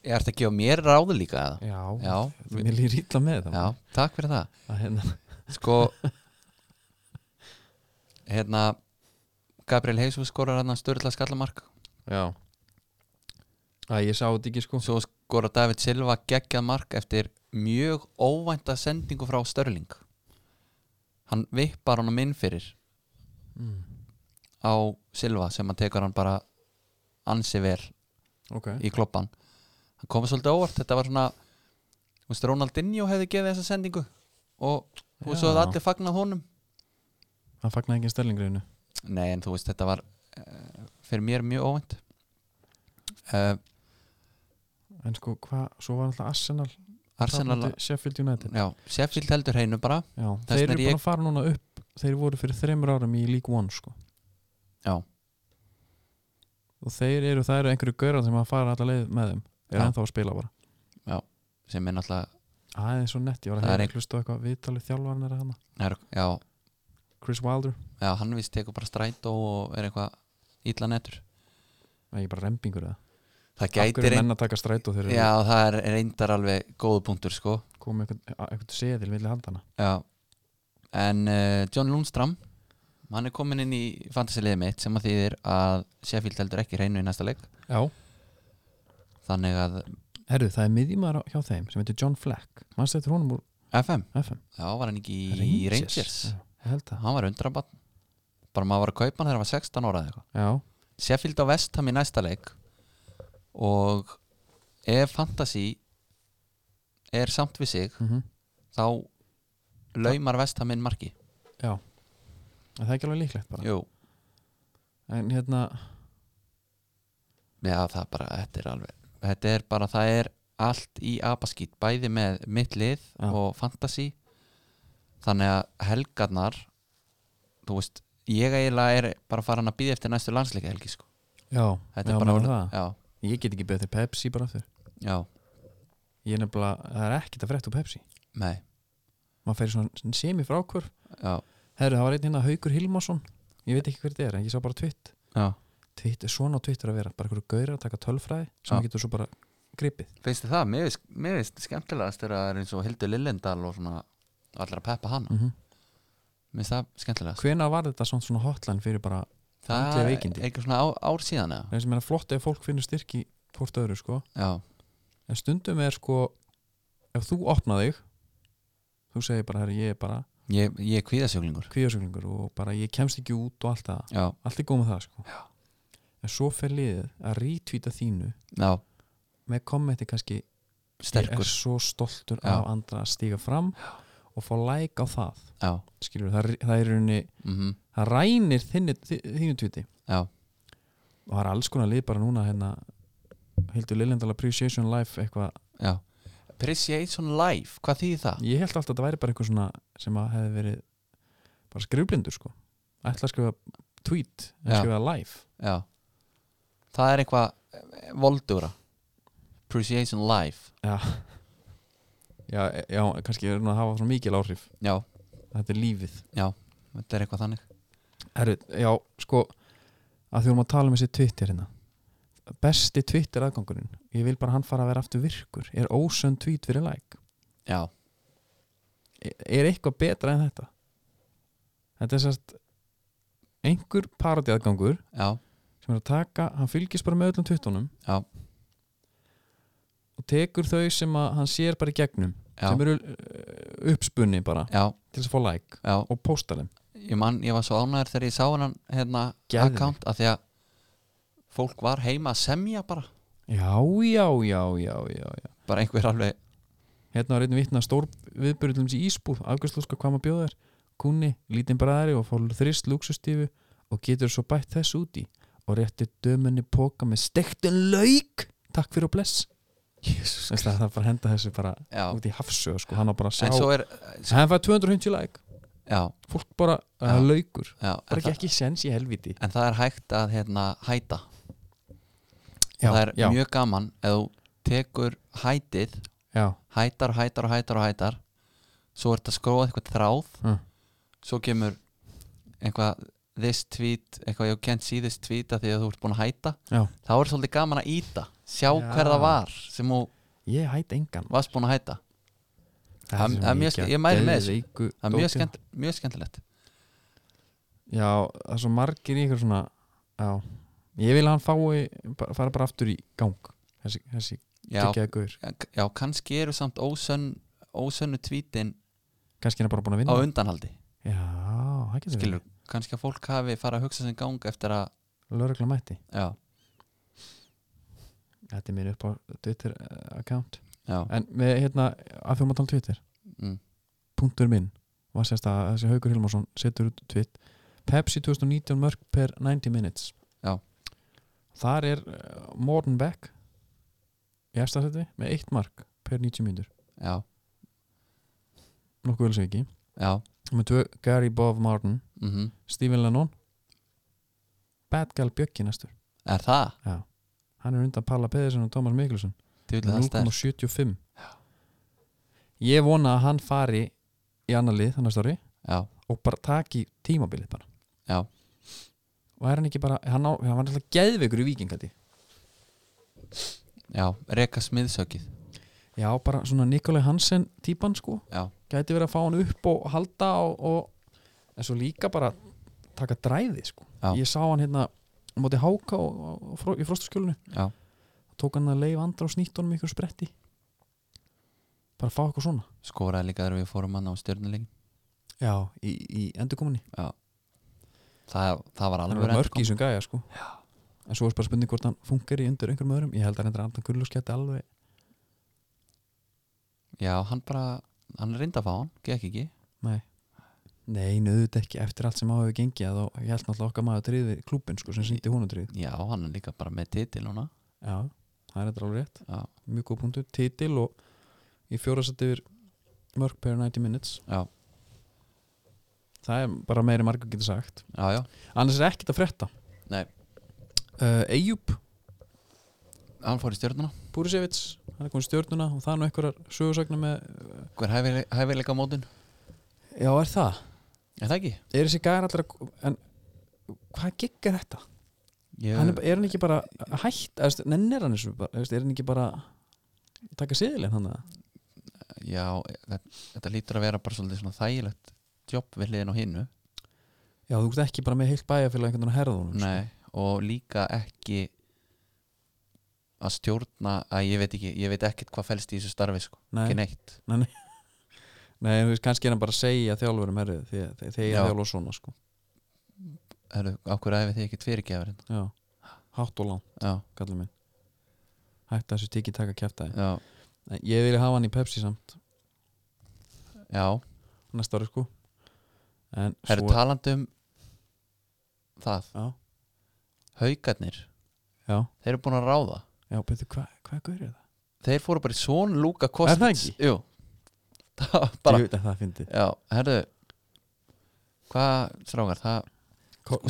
Speaker 2: ég ert að gefa mér ráðu líka eða?
Speaker 1: Já,
Speaker 2: já,
Speaker 1: mér líður ítla með það
Speaker 2: já, takk fyrir það
Speaker 1: Að hérna,
Speaker 2: sko hérna Gabriel Jesus skorar hann að störla skallamark
Speaker 1: Já Æ, ég sá þetta ekki sko
Speaker 2: svo skorar David Silva geggjað mark eftir mjög óvænta sendingu frá Störling hann vippar hann um inn fyrir
Speaker 1: mm.
Speaker 2: á Silva sem hann tekur hann bara ansi vel
Speaker 1: Ok,
Speaker 2: í kloppan hann kom svolítið á óvart, þetta var svona þú veist, Ronaldinho hefði gefið þessa sendingu og, og svo
Speaker 1: Já.
Speaker 2: hefði allir fagnað honum
Speaker 1: hann fagnaði engin stellingriðinu
Speaker 2: nei en þú veist þetta var uh, fyrir mér mjög óvænt uh,
Speaker 1: En sko, hvað, svo var alltaf Arsenal
Speaker 2: Arsenal
Speaker 1: tapandi Sheffield United
Speaker 2: já, Sheffield heldur hreinu bara
Speaker 1: Já,
Speaker 2: Þess
Speaker 1: þeir eru
Speaker 2: vegna er
Speaker 1: búin
Speaker 2: ég-
Speaker 1: að fara núna upp Þeir voru fyrir þremur árum í League One sko
Speaker 2: Já.
Speaker 1: Og þeir eru, það eru einhverju gaurar sem að fara alla leið með þeim Er
Speaker 2: Já.
Speaker 1: ennþá að spila bara
Speaker 2: sem er náttúrulega
Speaker 1: Aðeins svo nett, ég var
Speaker 2: Það er
Speaker 1: að
Speaker 2: ein-
Speaker 1: heyra hlustu eitthvað viðtalið þjálfarinn er að hana
Speaker 2: það er- já,
Speaker 1: Chris Wilder
Speaker 2: já, hann vist tekur bara strætó og er eitthvað illa nettur
Speaker 1: Nei, ég er bara rempingur eða
Speaker 2: það
Speaker 1: Af
Speaker 2: gætir
Speaker 1: hverju
Speaker 2: ein...
Speaker 1: menn að taka strætó þegar
Speaker 2: já, það er reyndar alveg góðu punktur sko
Speaker 1: þeir komu eitthvað, eitthvað seðil milli handana
Speaker 2: Já En uh, John Lundstram hann er komin inn í fantasiliðið mitt sem að þýðir að Sheffield heldur ekki reynu í næsta leik
Speaker 1: Já
Speaker 2: þannig að
Speaker 1: Herru, það er miðjumar hjá þeim sem heitir John Fleck Manstu eftir honum úr
Speaker 2: FM,
Speaker 1: FM
Speaker 2: já var hann ekki í Rangers
Speaker 1: Já, ég held það
Speaker 2: hann var undrabann bara maður var að kaupa hann þegar hann var 16 ára eða eitthvað
Speaker 1: Já,
Speaker 2: Sheffield á Vestham í næsta leik og ef fantasy er samt við sig
Speaker 1: mm
Speaker 2: þá laumar Vestham inn marki
Speaker 1: já En það er ekki alveg líklegt bara
Speaker 2: Jú,
Speaker 1: En hérna,
Speaker 2: Já, það er bara, þetta er alveg Þetta er bara, það er allt í apaskýt bæði með mitt lið
Speaker 1: Já.
Speaker 2: og fantasy þannig að helgarnar þú veist, ég eiginlega er bara farin að býða eftir næstu landsleika helgi sko.
Speaker 1: já,
Speaker 2: Þetta
Speaker 1: já,
Speaker 2: er bara
Speaker 1: meina það
Speaker 2: Já,
Speaker 1: Ég get ekki beðið til Pepsi bara aftur
Speaker 2: já,
Speaker 1: Ég er nefnilega, það er ekkert að frétta úr Pepsi
Speaker 2: nei
Speaker 1: Maður fer í svona semi frákur
Speaker 2: Já,
Speaker 1: Herru, það var einn hérna Haukur Hilmarsson Ég veit ekki hver þetta er, en ég sá bara tvitt
Speaker 2: já
Speaker 1: Tvitt, svona á Twitter að vera, bara einhverju gaurar að taka tölfræði sem
Speaker 2: Já.
Speaker 1: já. getur svo bara gripið
Speaker 2: Finnst þið það? Mér veist, mér veist skemmtilegast þegar það er eins og Hildur Lillendal og svona allar að peppa hana
Speaker 1: mm
Speaker 2: Mér finnst það skemmtilegast
Speaker 1: Hvenær var þetta samt svona hotline fyrir bara
Speaker 2: Það
Speaker 1: andleg
Speaker 2: er
Speaker 1: veikindi.
Speaker 2: eitthvað svona á, ár síðan eða?
Speaker 1: Það er sem er flott ef fólk finnur styrki hvort öðru sko
Speaker 2: Já,
Speaker 1: en stundum er sko ef þú opna þig þú segir bara, herri, ég er bara
Speaker 2: ég, ég er kvíðasjöglingur
Speaker 1: kvíðasöglingur og bara ég kemst ekki út og allt það,
Speaker 2: Já,
Speaker 1: allt er góð með það sko Já. en svo fer liðið að rítvíta þínu
Speaker 2: já,
Speaker 1: með kommenti kannski ég
Speaker 2: sterkur
Speaker 1: er svo stoltur
Speaker 2: Já.
Speaker 1: af andra að stíga fram Já. og fá læk á það
Speaker 2: Já,
Speaker 1: skilur, það, það er í rauninni
Speaker 2: mhm
Speaker 1: það rænir þinni, þi- þínu tvíti
Speaker 2: Já,
Speaker 1: og það er alls konar lið bara núna hérna Hildur Liljendal Appreciation Life eitthvað
Speaker 2: já Appreciation Life, hvað þýðir það?
Speaker 1: ég held alltaf að þetta væri bara eitthvað svona sem að hefði verið bara skrifblindur sko ætla að skrifa tweet en
Speaker 2: Já.
Speaker 1: skrifa live
Speaker 2: Já Það er eitthvað eh, voldugra Appreciation Life
Speaker 1: já, já, e- já kannski er nú að hafa svona mikil áhrif
Speaker 2: Já,
Speaker 1: þetta er lífið
Speaker 2: þetta er eitthvað þannig
Speaker 1: Herru, já, sko að því vorum að tala um þessi Twitter hérna besti Twitter aðgangurinn ég vil bara að hann fara að vera aftur virkur er ósönn tweet fyrir like
Speaker 2: já,
Speaker 1: er, er eitthvað betra en þetta þetta er sérst einhver parodi aðgangur
Speaker 2: já,
Speaker 1: sem er að taka, hann fylgist bara með öllum twittunum
Speaker 2: Já.
Speaker 1: og tekur þau sem að hann sér bara í gegnum
Speaker 2: já,
Speaker 1: sem eru uh, uppspunni bara
Speaker 2: já,
Speaker 1: til þess að fá like
Speaker 2: já.
Speaker 1: og posta þeim
Speaker 2: ég mann, ég var svo ánæður þegar ég sá hennan hérna
Speaker 1: Geðveik.
Speaker 2: account að því að fólk var heima að semja bara
Speaker 1: já, já, já, já, já, já.
Speaker 2: bara einhver alveg,
Speaker 1: hérna var einn vitna stór viðbyrjum í Ísbúð, afgjörslúska hvað maður bjóðar kunni, lítinn bræðari og fólur þrist lúksustífu og getur svo bætt þess úti og rétti dömunni póka með stektun lauk takk fyrir og bless
Speaker 2: jésús
Speaker 1: Veist það það er bara að henda þessu bara
Speaker 2: já,
Speaker 1: út í hafsög sko, hann á bara að sjá
Speaker 2: en svo er
Speaker 1: hann fær 250 like,
Speaker 2: já,
Speaker 1: fólk bara
Speaker 2: Já.
Speaker 1: uh, laukur,
Speaker 2: já,
Speaker 1: bara
Speaker 2: en,
Speaker 1: ekki
Speaker 2: það,
Speaker 1: ekki sens í helviti
Speaker 2: en það er hægt að hérna hæta
Speaker 1: já,
Speaker 2: það er
Speaker 1: já,
Speaker 2: mjög gaman ef þú tekur hætið
Speaker 1: já,
Speaker 2: hætar og hætar og hætar og hætar svo ertu að skróa eitthvað þráð
Speaker 1: Mm.
Speaker 2: svo kemur eitthvað this tweet, eitthvað you can't see this tweet að því að þú ert búin að hæta
Speaker 1: já
Speaker 2: þá er svolítið gaman að íta sjá
Speaker 1: Já.
Speaker 2: hver það var sem þú
Speaker 1: ég hætt engan
Speaker 2: varst búin að hæta Það- það er mjög ske- ég mæli með þessu. það er mjög, skemmt, mjög skemmtilegt
Speaker 1: já, það er svo margir í ykkur svona já, ég vil að hann fái bara- fara bara aftur í gang þessi, þessi
Speaker 2: já,
Speaker 1: geggjaði guður
Speaker 2: já, kannski eru samt ósönn, ósönnu tweetin
Speaker 1: kannski er hann bara búin að
Speaker 2: á
Speaker 1: vinna
Speaker 2: undanhaldi
Speaker 1: já, það getur
Speaker 2: skilur, kannski að fólk hafi fara að hugsa sem gang eftir að
Speaker 1: lögregla mætti
Speaker 2: já,
Speaker 1: þetta er mér upp á Twitter eh, account
Speaker 2: já,
Speaker 1: en með hérna, að því að maður tala um Twitter
Speaker 2: mm,
Speaker 1: punktur minn var sérst að þessi Haugur Hilmarsson setur út tvitt Pepsi 2019 mörg per 90 minutes
Speaker 2: Já.
Speaker 1: þar er uh, Morten Beck í efstafsætti með eitt mark per 90 mínútur
Speaker 2: já,
Speaker 1: nokkuð vel sem ekki
Speaker 2: já
Speaker 1: með tvö Gary Bob Martin
Speaker 2: mm
Speaker 1: Stephen Lennon Bad Gal Bjöggi næstur
Speaker 2: er það?
Speaker 1: Já. hann er undan Palla Pedersen og Thomas Mikkelsen
Speaker 2: Djúlega, það stærst
Speaker 1: 0,75 ég vona að hann fari í annar lið þannig að stóri
Speaker 2: já,
Speaker 1: og bara taki tímabilið bara
Speaker 2: Já.
Speaker 1: og er hann ekki bara hann, á, hann var alltaf geðveikur í vikingandi
Speaker 2: já, reka smiðsökið
Speaker 1: já, bara svona Nikolai Hansen típan sko
Speaker 2: já,
Speaker 1: gæti verið að fá hann upp og halda og, og en svo líka bara taka dræði sko
Speaker 2: Já.
Speaker 1: ég sá hann hérna á móti háka og, og, og fró, í frostaskjölinu
Speaker 2: já,
Speaker 1: tók hann að leif andra og snýtt honum í ykkur spretti bara fá eitthvað svona
Speaker 2: skoraði líka þegar við fórum hann á stjörnuleik
Speaker 1: já, í, í endurkominni
Speaker 2: það, það var
Speaker 1: hann
Speaker 2: alveg
Speaker 1: var mörg í
Speaker 2: endurkom-
Speaker 1: þessum gæja sko já. en svo er bara spurning hvort hann funkar í undir einhverjum öðrum ég held að hann er andan gulluskjætti alveg
Speaker 2: já, hann bara, hann reyndi að fá hann gekk ekki,
Speaker 1: Nei Nei, nöðut ekki eftir allt sem á hefur gengið að þá ég held náttúrulega okkar maður tríði klúbin sko, sem sýndi hún að tríð
Speaker 2: já, hann er líka bara með titil núna,
Speaker 1: Já, það er þetta alveg rétt
Speaker 2: já,
Speaker 1: Mjög góð punktu, titil og í fjórasett yfir mörg per 90 minutes
Speaker 2: já,
Speaker 1: Það er bara meiri margur getur sagt
Speaker 2: já, já.
Speaker 1: Annars er ekkert að frétta
Speaker 2: Nei.
Speaker 1: uh, Eyjúb
Speaker 2: hann fór í stjörnuna
Speaker 1: Búrisevits, hann er komin í stjórnuna og það er nú einhverjar sögursagna með uh,
Speaker 2: hver hæfileika, hæfileika mótin,
Speaker 1: Já, er það?
Speaker 2: er það ekki?
Speaker 1: Er þessi gæðar allir að en, hvað gigg er þetta?
Speaker 2: Ég,
Speaker 1: hann er, ba- er hann ekki bara hætt eða, þú veist, nennir hann þessu bara, þú veist, er hann ekki bara taka siðilegn hann eða?
Speaker 2: já, þetta, þetta lítur að vera bara svolítið svona þægilegt jobb við hliðin á hinnu
Speaker 1: já þú ert ekki bara með heilt bæjarfélag einhvern veginn sko. að herða honum
Speaker 2: Nei, og líka ekki að stjórna að ég veit ekki, ég veit ekkert hvað fælst í þessu starfi sko,
Speaker 1: nei,
Speaker 2: ekki
Speaker 1: nei.
Speaker 2: neitt
Speaker 1: nei en þú veist, kannski er hann bara að segja þjálfurum herrið þegar þe- þegar
Speaker 2: Já.
Speaker 1: ég þjálfa svona sko.
Speaker 2: Hörru, á hverju æfið þið hérna? ekki tvirgjafar
Speaker 1: já. hátt og langt,
Speaker 2: Já,
Speaker 1: kallar minn hætt þessu tiki taka kæftæði
Speaker 2: já,
Speaker 1: ég vil hafa hann í Pepsi samt
Speaker 2: já
Speaker 1: næsta ári sko en
Speaker 2: Herru,
Speaker 1: svo
Speaker 2: talandi um það,
Speaker 1: já,
Speaker 2: haugarnir
Speaker 1: já,
Speaker 2: þeir eru búin að ráða,
Speaker 1: já, betur hvað hva gaur er það?
Speaker 2: þeir fóru bara í svon Luka
Speaker 1: Er það
Speaker 2: Kostits Jú, það var bara
Speaker 1: ég veit að það fyndi
Speaker 2: Já, herru Hvað, strákar, það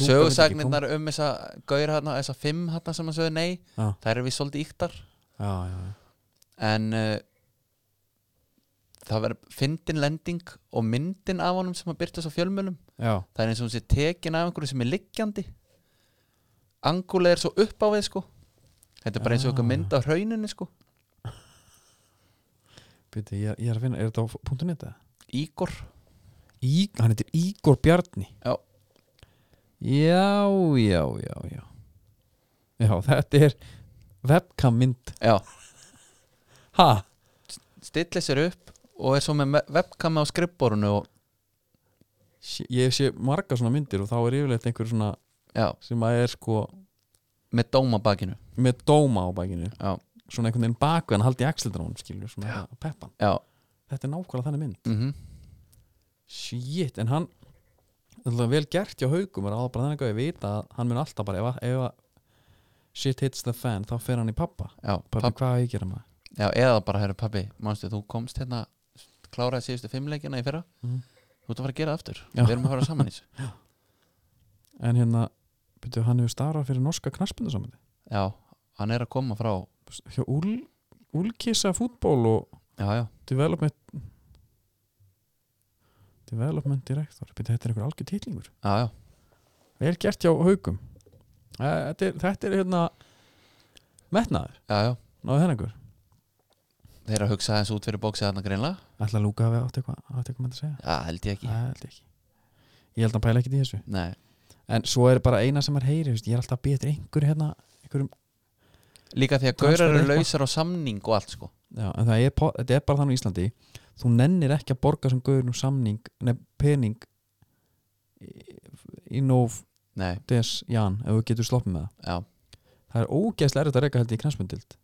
Speaker 2: sögursagnirnar um þessa gaur hérna, þessa fimm hérna sem að sögðu nei
Speaker 1: Já.
Speaker 2: þær eru við svolítið íktar
Speaker 1: já, já, já.
Speaker 2: en uh, það verður fyndin lending og myndin af honum sem að byrta svo fjölmjölum
Speaker 1: já,
Speaker 2: það er eins og hún sé tekin af einhverju sem er liggjandi angulega er svo upp á við sko Þetta er bara eins og
Speaker 1: Ah.
Speaker 2: eitthvað mynd á rauninni sko
Speaker 1: Bíddu, ég, ég er að finna, er þetta á punktu netta?
Speaker 2: Ígor
Speaker 1: Í, hann heitir Ígor Bjarni
Speaker 2: Já.
Speaker 1: Já, já, já, já Já, þetta er webcam mynd
Speaker 2: Já,
Speaker 1: Ha?
Speaker 2: stillir sér upp og er svo með me- webkami á skrifborunu og
Speaker 1: Sí- Ég sé marga svona myndir og þá er yfirleitt einhver svona
Speaker 2: já,
Speaker 1: sem að er sko
Speaker 2: með dóma á bakinu
Speaker 1: með dóma á bakinu
Speaker 2: Já,
Speaker 1: svona einhvern veginn baku en haldi axildránum skilur svona peppan
Speaker 2: já,
Speaker 1: Þetta er nákvæmlega þannig mynd
Speaker 2: mhm
Speaker 1: Shit, en hann Það er vel gert hjá haugum er áður bara þannig að ég vita að hann mun alltaf bara ef, að- ef að shit hits the fan þá fer hann í pappa
Speaker 2: já,
Speaker 1: Pappi,
Speaker 2: papp,
Speaker 1: hvað á ég að gera maður?
Speaker 2: já, eða bara, herru pabbi manstu, þú komst hérna kláraði síðustu fimmleikina í fyrra
Speaker 1: Mhm.
Speaker 2: þú ert að fara að gera það aftur,
Speaker 1: Já.
Speaker 2: við erum að fara saman í þessu
Speaker 1: En hérna, betur hann hefur starfað fyrir norska knarsbundasamöndi
Speaker 2: já, hann er að koma frá
Speaker 1: hjá Úl, Úlkissa fútból og
Speaker 2: já, já,
Speaker 1: development development director betur þetta er einhver algjör titlingur
Speaker 2: já, já,
Speaker 1: vel gert hjá haugum Eh, þetta er, þetta er hérna metnaður,
Speaker 2: já, já.
Speaker 1: náðu þennan einhver
Speaker 2: þeir eru að hugsa þessu út fyrir bóksið þarna greinlega
Speaker 1: ætla að Lúka hafi átt eitthvað átt eitthvað með að segja,
Speaker 2: já, held ég
Speaker 1: það
Speaker 2: ekki,
Speaker 1: held ég ekki ég held að hann pæla ekkert í þessu
Speaker 2: nei,
Speaker 1: en svo er bara eina sem er heyri, veist, ég er alltaf betur einhver hérna, einhverjum
Speaker 2: líka því að
Speaker 1: Transfer
Speaker 2: gaurar eru
Speaker 1: eitthvað.
Speaker 2: lausar á samning og allt sko
Speaker 1: Já, en það er, po- þetta er bara þannig í Íslandi þú nennir ekki að borga sem gauðinu samning nefn pening í- í nóf
Speaker 2: nei,
Speaker 1: des jan ef þú getur sloppið með það
Speaker 2: já,
Speaker 1: það er ógeðslega erfitt að reyka held ég í knæsmundild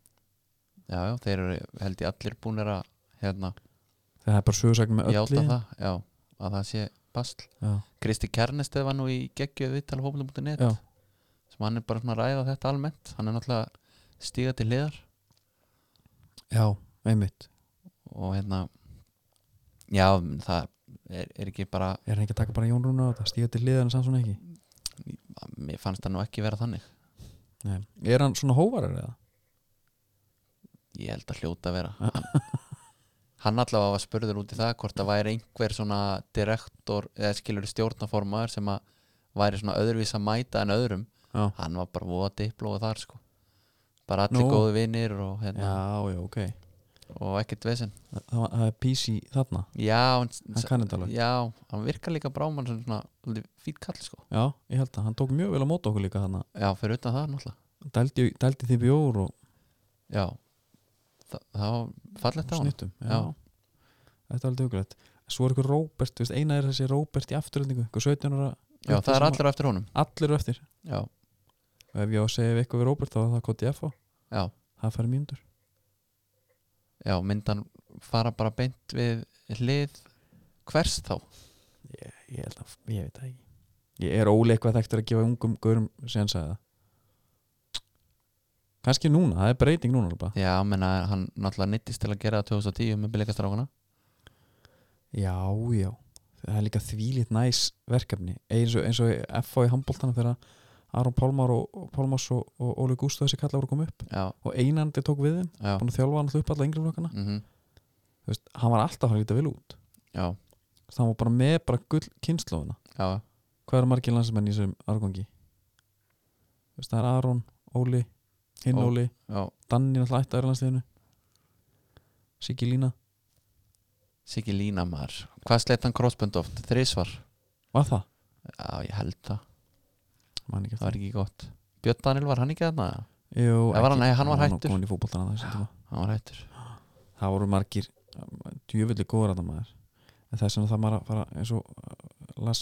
Speaker 2: já, já, þeir eru held ég allir búinir að hérna,
Speaker 1: það er bara sögursagn með
Speaker 2: játa
Speaker 1: öllu
Speaker 2: það já, að það sé basl
Speaker 1: Já,
Speaker 2: Kristi Kernesteð var nú í geggjöð viðtal hófnum.net
Speaker 1: já,
Speaker 2: sem hann er bara svona að ræða þetta almennt hann er náttúrulega stíga til hliðar
Speaker 1: já, einmitt
Speaker 2: og hérna já, það er, er ekki bara
Speaker 1: er hann ekki að taka bara Jón Rúna á þetta stíga til liðan samt svona ekki
Speaker 2: mér fannst það nú ekki vera þannig
Speaker 1: Nei. er hann svona hóvarar eða?
Speaker 2: ég held að hljóta að vera hann, hann allavega var spurður út í það hvort það væri einhver svona direktor eða skilur stjórnaformaður sem að væri svona öðruvís að mæta en öðrum
Speaker 1: Já,
Speaker 2: hann var bara voða diplóð þar sko bara allir
Speaker 1: Nú.
Speaker 2: góðu vinnir og, hérna,
Speaker 1: já, já, ok það,
Speaker 2: og ekkert vesinn
Speaker 1: það, var- það er PC þarna,
Speaker 2: já, hann,
Speaker 1: hann kann þetta alveg
Speaker 2: já, hann virkar líka bráman sem svona fýtt kall sko
Speaker 1: Já, ég held að hann tók mjög vel á móta okkur líka þarna
Speaker 2: já, fyrir utan það náttúrulega
Speaker 1: dældi, dældi því bjór og
Speaker 2: já, Þa, það var fallegt á hann
Speaker 1: snittum
Speaker 2: Já.
Speaker 1: já. þetta er alveg hugulegt svo er eitthvað Róbert, þú veist, eina er þessi Róbert í afturöldingu, eitthvað 17 ára
Speaker 2: já, það er
Speaker 1: sem
Speaker 2: allir á eftir honum
Speaker 1: að- allir eru eftir
Speaker 2: já,
Speaker 1: og ef ég á að segja við eitthvað við Róbert þá er það kóti F
Speaker 2: já,
Speaker 1: það fær mínútur
Speaker 2: já, myndan fara bara beint við hlið hvers þá
Speaker 1: ég, ég held að, ég veit það ekki ég er óleik hvað þekktur að gefa ungum gaurum sem sagði það kannski núna, það er breyting núna alveg.
Speaker 2: já, menna hann náttúrulega nittist til að gera það 2010 með bíleikastrákana
Speaker 1: já, já það er líka þvílitt næs verkefni eins og, eins og F.A. í handbóltana þegar Aron Pálmar og, og Pálmars og, og Óli Gústu þessi kallar voru komið upp
Speaker 2: já,
Speaker 1: og einandi tók við þeim
Speaker 2: já,
Speaker 1: búin að þjálfa hann alltaf upp alla yngri flokkana
Speaker 2: mhm,
Speaker 1: Þú veist, hann var alltaf að fara að líta vel út
Speaker 2: já,
Speaker 1: Þú veist, hann var bara með bara gull kynnslóðina
Speaker 2: já
Speaker 1: hvað eru margir landsmenn í þessum árgangi Þú veist, það er Aron, Óli hinn
Speaker 2: Ó.
Speaker 1: Óli,
Speaker 2: já,
Speaker 1: Danni alltaf ætti að vera landsliðinu Siggi Lína,
Speaker 2: Siggi Línamar hvað sleitt hann crossbund oft? þrísvar?
Speaker 1: var það?
Speaker 2: já, ég held það,
Speaker 1: Man ekki
Speaker 2: það
Speaker 1: eftir
Speaker 2: var ekki gott Björn Daniel var hann ekki þarna?
Speaker 1: Jú,
Speaker 2: Það var
Speaker 1: ekki.
Speaker 2: hann- nei, hann var
Speaker 1: nú
Speaker 2: hættur.
Speaker 1: kominn í fótboltana á þessum tíma.
Speaker 2: hann var hættur
Speaker 1: það voru margir um, djöfulli góður að það maður en þess vegna það maður að fara eins og uh, las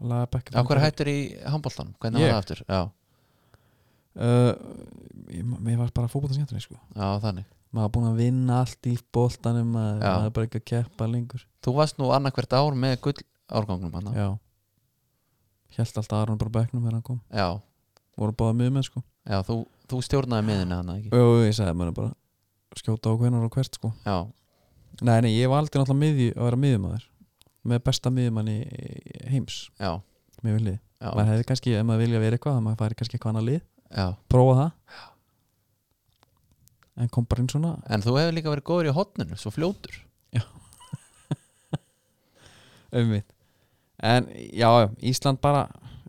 Speaker 1: lagabekk
Speaker 2: Já, hvað er hættur í handbóltanum? Hvernig
Speaker 1: Ég?
Speaker 2: var það aftur? Já,
Speaker 1: Uh, ég, ég var bara fótboltan skemmtunni sko
Speaker 2: já, þannig
Speaker 1: maður er búin að vinna allt í boltanum maður,
Speaker 2: Já.
Speaker 1: maður er bara ekki að keppa lengur
Speaker 2: Þú varst nú annarkvært ár með gull árgangnum hann Já,
Speaker 1: já held alltaf Aron bara á bekknum þegar hann kom
Speaker 2: já,
Speaker 1: voru báða mjög með sko
Speaker 2: þú, þú stjórnaði miðinni hann ekki
Speaker 1: og ég sagði maður bara skjóta á hvernar og hvert sko
Speaker 2: Já,
Speaker 1: nei nei ég var aldrei náttúrulega miðju að vera miðjumæður með besta miðjumanni heims
Speaker 2: já,
Speaker 1: með viljið
Speaker 2: já,
Speaker 1: maður hefði kannski ef maður vilja vera eitthvað þá maður færi kannski eitthvað annað lið
Speaker 2: já
Speaker 1: prófa það en kom bara inn svona
Speaker 2: En þú hefur líka verið góður í hotninu, svo fljótur
Speaker 1: auðvitað en já já, Ísland bara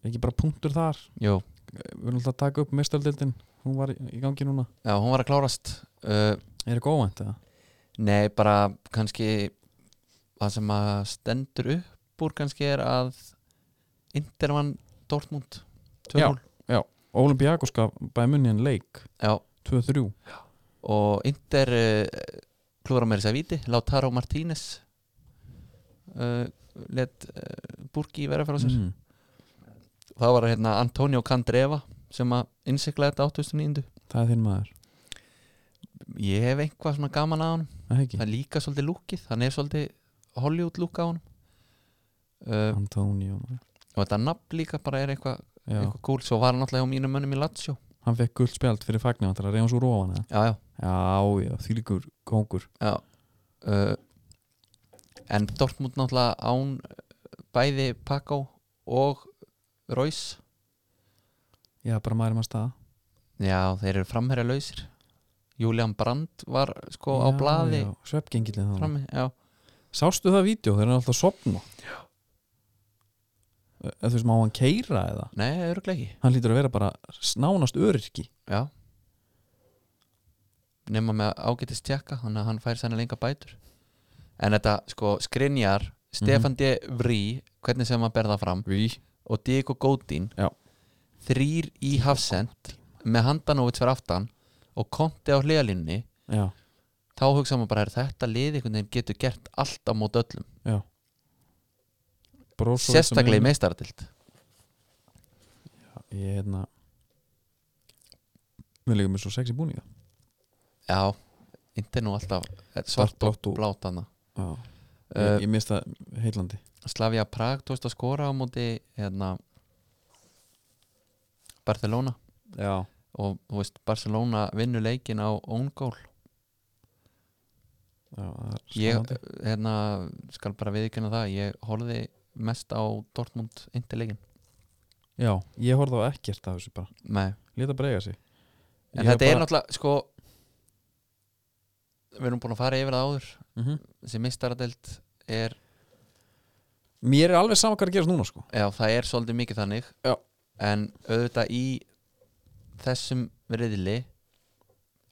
Speaker 1: ekki bara punktur þar
Speaker 2: Jú,
Speaker 1: við erum alltaf að taka upp mestardeldin hún var í í gangi núna
Speaker 2: Já, hún var að klárast uh,
Speaker 1: Er það góðvænt eða?
Speaker 2: Nei, bara kannski það sem að stendur upp úr kannski er að Inter vann Dortmund 2-0
Speaker 1: Olympiakos gaf bæmunniðan leik
Speaker 2: Já,
Speaker 1: 2-3
Speaker 2: og Inter uh, klúra meira sér víti Lautaro Martínez uh, let uh, Burki vera frá sér
Speaker 1: Mm.
Speaker 2: það var hérna Antonio Candreva sem að innsikla þetta 8.900
Speaker 1: Það er þinn maður
Speaker 2: ég hef einhvað svona gaman að hann
Speaker 1: Það er ekki
Speaker 2: það er líka svolítið lúkið, hann er svolítið Hollywood lúk á hann uh,
Speaker 1: Antonio
Speaker 2: og þetta nafn líka bara er eitthvað
Speaker 1: Já,
Speaker 2: eitthvað cool, svo var hann alltaf hjá mínum mönnum í Lazio
Speaker 1: hann fekk guld spjald fyrir fagnir hann til að reyna svo róan eða?
Speaker 2: já, já,
Speaker 1: Já, já, þýlíkur kongur
Speaker 2: já. Uh, en Dortmund náttúrulega án uh, bæði Paco og Reus
Speaker 1: Já, bara maður um að staða
Speaker 2: já, þeir eru framherja lausir Julian Brandt var sko á
Speaker 1: Já,
Speaker 2: blaði
Speaker 1: já, Svefngengillin þannig
Speaker 2: frammi, já,
Speaker 1: Sástu það vídeo þegar hann er alltaf að sopna Já Þú veist, má hann keira eða
Speaker 2: nei, örgulega ekki
Speaker 1: Hann lítur að vera bara snánast öryrki
Speaker 2: já nema með ágætist tjekka þannig að hann fær sannlega enga bætur en þetta sko skrinjar
Speaker 1: Mhm.
Speaker 2: Stefan D. Vrí, hvernig sem maður berða fram
Speaker 1: Ví
Speaker 2: og Diego Godin
Speaker 1: Já.
Speaker 2: þrýr í hafsend með handanovits fyrir aftan og konti á hliðalínni
Speaker 1: Já,
Speaker 2: þá hugsa maður bara er þetta lið einhvern veginn getur gert allt á mót öllum
Speaker 1: Brozovic á
Speaker 2: sérstaklega í
Speaker 1: miðjunni.
Speaker 2: meistaratild
Speaker 1: Ég hérna Við líkum með svo sexy búninga
Speaker 2: já, inte nú alltaf eh, svart og
Speaker 1: blátt og-
Speaker 2: blátt hana
Speaker 1: Já
Speaker 2: Eh,
Speaker 1: Ég, ég mista heillandi
Speaker 2: Slavia Prag tókst að skora á móti hérna Barcelona
Speaker 1: Já
Speaker 2: og þú veist Barcelona vinnur leikin á own goal
Speaker 1: Já, það er
Speaker 2: ég
Speaker 1: spennandi.
Speaker 2: hérna skal bara viðkynna það ég horfði mest á Dortmund interleikin
Speaker 1: Já, ég horfði á ekkert af þessu bara
Speaker 2: Nei.
Speaker 1: Lita breyga sig
Speaker 2: en þetta er náttúrulega sko við erum búin að fara yfir það áður
Speaker 1: náttúrulega
Speaker 2: þessi mistaradelt er
Speaker 1: Mér er alveg sama hvað er að gerast núna sko
Speaker 2: já það er svolítið mikið þannig
Speaker 1: Já.
Speaker 2: en auðvitað í þessum riðli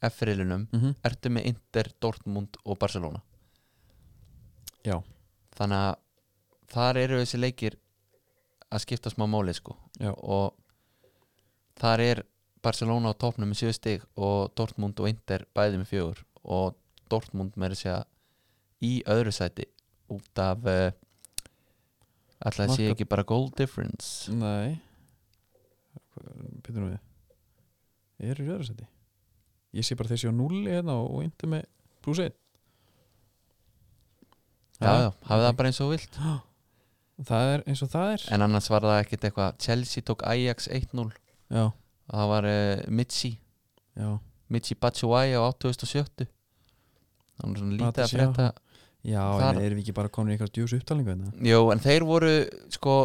Speaker 2: F-riðlunum ertu með Inter, Dortmund og Barcelona
Speaker 1: Já.
Speaker 2: þannig að þar eru þessi leikir að skipta smá máli sko
Speaker 1: Já.
Speaker 2: og þar er Barcelona á topnum með 7 stig og Dortmund og Inter bæði með fjögur og Dortmund með þess að í öðru sæti út af uh, alltaf þessi
Speaker 1: Marka-
Speaker 2: ekki bara goal difference
Speaker 1: Nei Pytur nú við Eru í öðru seti Ég sé bara þessi á núli hérna og, og indi með pluss 1
Speaker 2: já, já, hafið það bara eins og þú vilt
Speaker 1: Það er eins og það er
Speaker 2: en annars var það ekkit eitthvað Chelsea tók Ajax 1-0
Speaker 1: Já,
Speaker 2: það var uh, Mitzi
Speaker 1: já
Speaker 2: Michi Batshuayi á 8070 hann er svona lítið að
Speaker 1: Batshuayi.
Speaker 2: frétta
Speaker 1: Já,
Speaker 2: Þar-
Speaker 1: en erum við ekki bara komin í eitthvað djús upptalningu hérna?
Speaker 2: Jó, en þeir voru sko,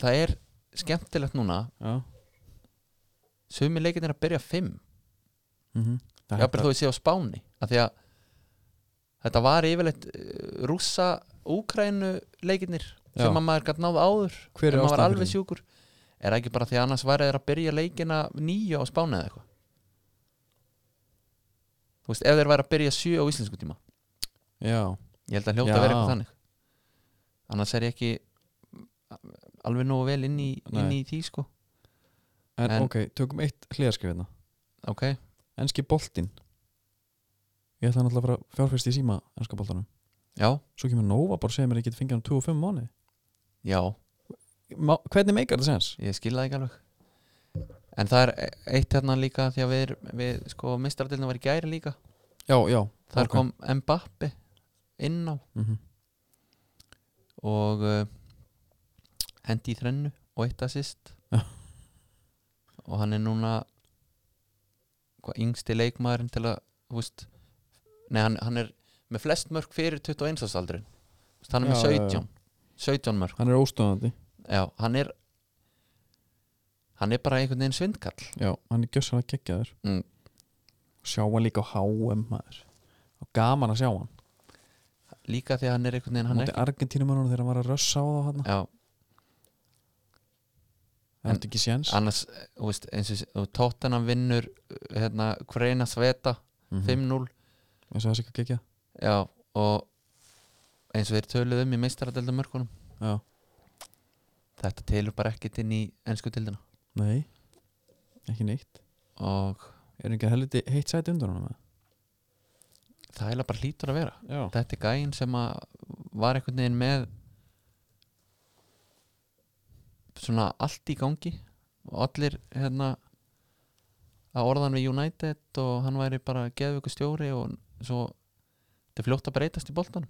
Speaker 2: það er skemmtilegt núna
Speaker 1: Já
Speaker 2: sumi leikinn er að byrja 5
Speaker 1: mm -hmm.
Speaker 2: jafnvel þó ég sé á Spáni af því að þetta var yfirleitt eh, rússa úkrænu leikinnir
Speaker 1: Já.
Speaker 2: sem að maður gætt náð áður
Speaker 1: Hver er
Speaker 2: en
Speaker 1: ástæðan
Speaker 2: maður var
Speaker 1: fyrir
Speaker 2: alveg
Speaker 1: því?
Speaker 2: sjúkur er það ekki bara því að annars væri þeir að byrja leikina nýju á Spáni eða eitthvað þú veist, ef þeir væri að byrja 7 á íslensku tíma
Speaker 1: Já,
Speaker 2: Ég held að hljóta
Speaker 1: Já.
Speaker 2: að vera eitthvað þannig Annars er ég ekki alveg nógu vel inn í, inn í því sko
Speaker 1: en,
Speaker 2: En-
Speaker 1: ok, tökum eitt hliðarskrif hérna
Speaker 2: Ok,
Speaker 1: Enski boltinn Ég ætla náttúrulega að fara að fjárfæst í síma enska boltanum
Speaker 2: já,
Speaker 1: Svo kemur Nova bara að segja mér að ég geti fengið hann um 25 mánu
Speaker 2: já,
Speaker 1: Má, Hvernig meikar þetta sens?
Speaker 2: ég skil það ekki alveg En það er e- eitt hérna líka því að við, er- við sko mistaradilna var í gæri líka
Speaker 1: Já, já
Speaker 2: Þar
Speaker 1: ok.
Speaker 2: kom Mbappi inn á
Speaker 1: Mhm.
Speaker 2: og uh, hendi í þrennu og eitt assist
Speaker 1: Já.
Speaker 2: og hann er núna hvað yngsti leikmaðurinn til að þú veist, nei, hann, hann er með flest mörg fyrir 21 ástaldurinn hann er með
Speaker 1: Já, já, já.
Speaker 2: 17 17 mörg,
Speaker 1: Hann er óstöðandi
Speaker 2: já, hann er hann er bara einhvern veginn svindkall
Speaker 1: Já, hann er gjössan að gegja þér
Speaker 2: Mm.
Speaker 1: Sjá hann líka á HM maður og gaman að sjá hann
Speaker 2: líka því að hann er einhvern veginn
Speaker 1: Hann
Speaker 2: hann er
Speaker 1: Móti Argentínumannunum þegar hann var að rössa á þá hann
Speaker 2: já,
Speaker 1: það er ekki séns
Speaker 2: annars, eh, þú veist, eins og þú tóttanam vinnur eh, hérna, hverina sveta
Speaker 1: Mhm.
Speaker 2: 5-0
Speaker 1: eins og það sé ekki að gegja
Speaker 2: já, og eins og þeir töluðu um í meistaradeldum mörkunum
Speaker 1: já,
Speaker 2: þetta telur bara ekkert inn í ennsku deildina
Speaker 1: nei, ekki neitt
Speaker 2: og
Speaker 1: er ekki að helviti heitt sæti undan honum eða?
Speaker 2: það heila bara hlýtur að vera
Speaker 1: já,
Speaker 2: þetta er gæinn sem að var einhvern veginn með svona allt í gangi og allir hérna að orðan við United og hann væri bara geðvöku stjóri og svo þetta er fljótt að breytast í boltan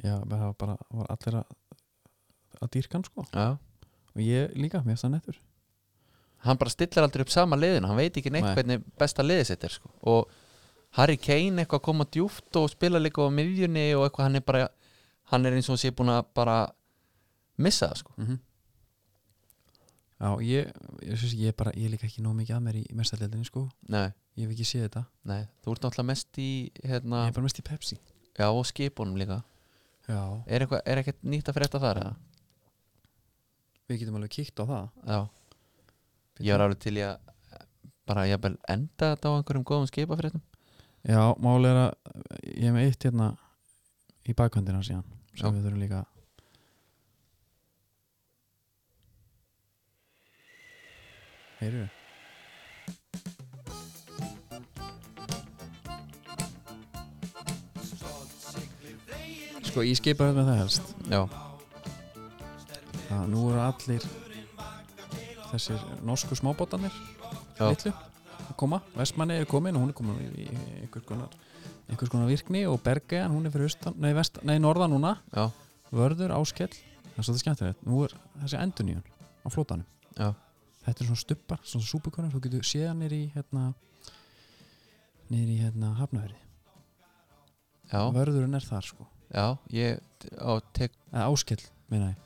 Speaker 1: já bara- það var bara var allir að að dýrkan sko
Speaker 2: Já.
Speaker 1: og ég líka, mér finnst það nettur
Speaker 2: hann bara stillar aldrei upp sama liðin hann veit ekki neitt
Speaker 1: Nei.
Speaker 2: hvernig besta liðið sitt er sko. og Harry Kane eitthvað að koma djúft og spila líka á miljunni og eitthvað hann er bara hann er eins og hann sé búin að bara missa það sko.
Speaker 1: já, ég, ég, ég, ég, er bara, ég er líka ekki nóg mikið að mér í mestaldildinni sko
Speaker 2: nei,
Speaker 1: ég hef ekki séð þetta,
Speaker 2: nei, þú ert náttúrulega mest í hérna,
Speaker 1: ég er bara mest í Pepsi
Speaker 2: já og skipunum líka
Speaker 1: já,
Speaker 2: er, eitthvað, er ekkert nýtt að frétta þar eða?
Speaker 1: við getum alveg kíkt á það
Speaker 2: já, ég var alveg til í að bara ég enda þetta á einhverjum góðum skipafréttum
Speaker 1: já, mál er að ég hef með eitt hérna í bakhöndina síðan sem
Speaker 2: Já.
Speaker 1: við þurfum líka heyrðu sko ég skipa þetta með það helst
Speaker 2: já,
Speaker 1: að nú eru allir þessir norsku smábótarnir
Speaker 2: Já.
Speaker 1: litlu að koma, Vestmanni er komin og hún er komin í í einhvers konar, einhvers konar virkni og Bergegan, hún er fyrir austan, nei, vestan, nei norða núna,
Speaker 2: já,
Speaker 1: vörður, áskell það er svolítið skemmtilegt, nú er þessi enduníun á flótanum
Speaker 2: Já.
Speaker 1: þetta er svona stubbar, svona súpukonar þú getur séð hann nýri í hérna nýri í hérna hafnaveri
Speaker 2: já,
Speaker 1: vörðurinn er þar sko,
Speaker 2: já ég á, tek,
Speaker 1: eða áskell meina ég,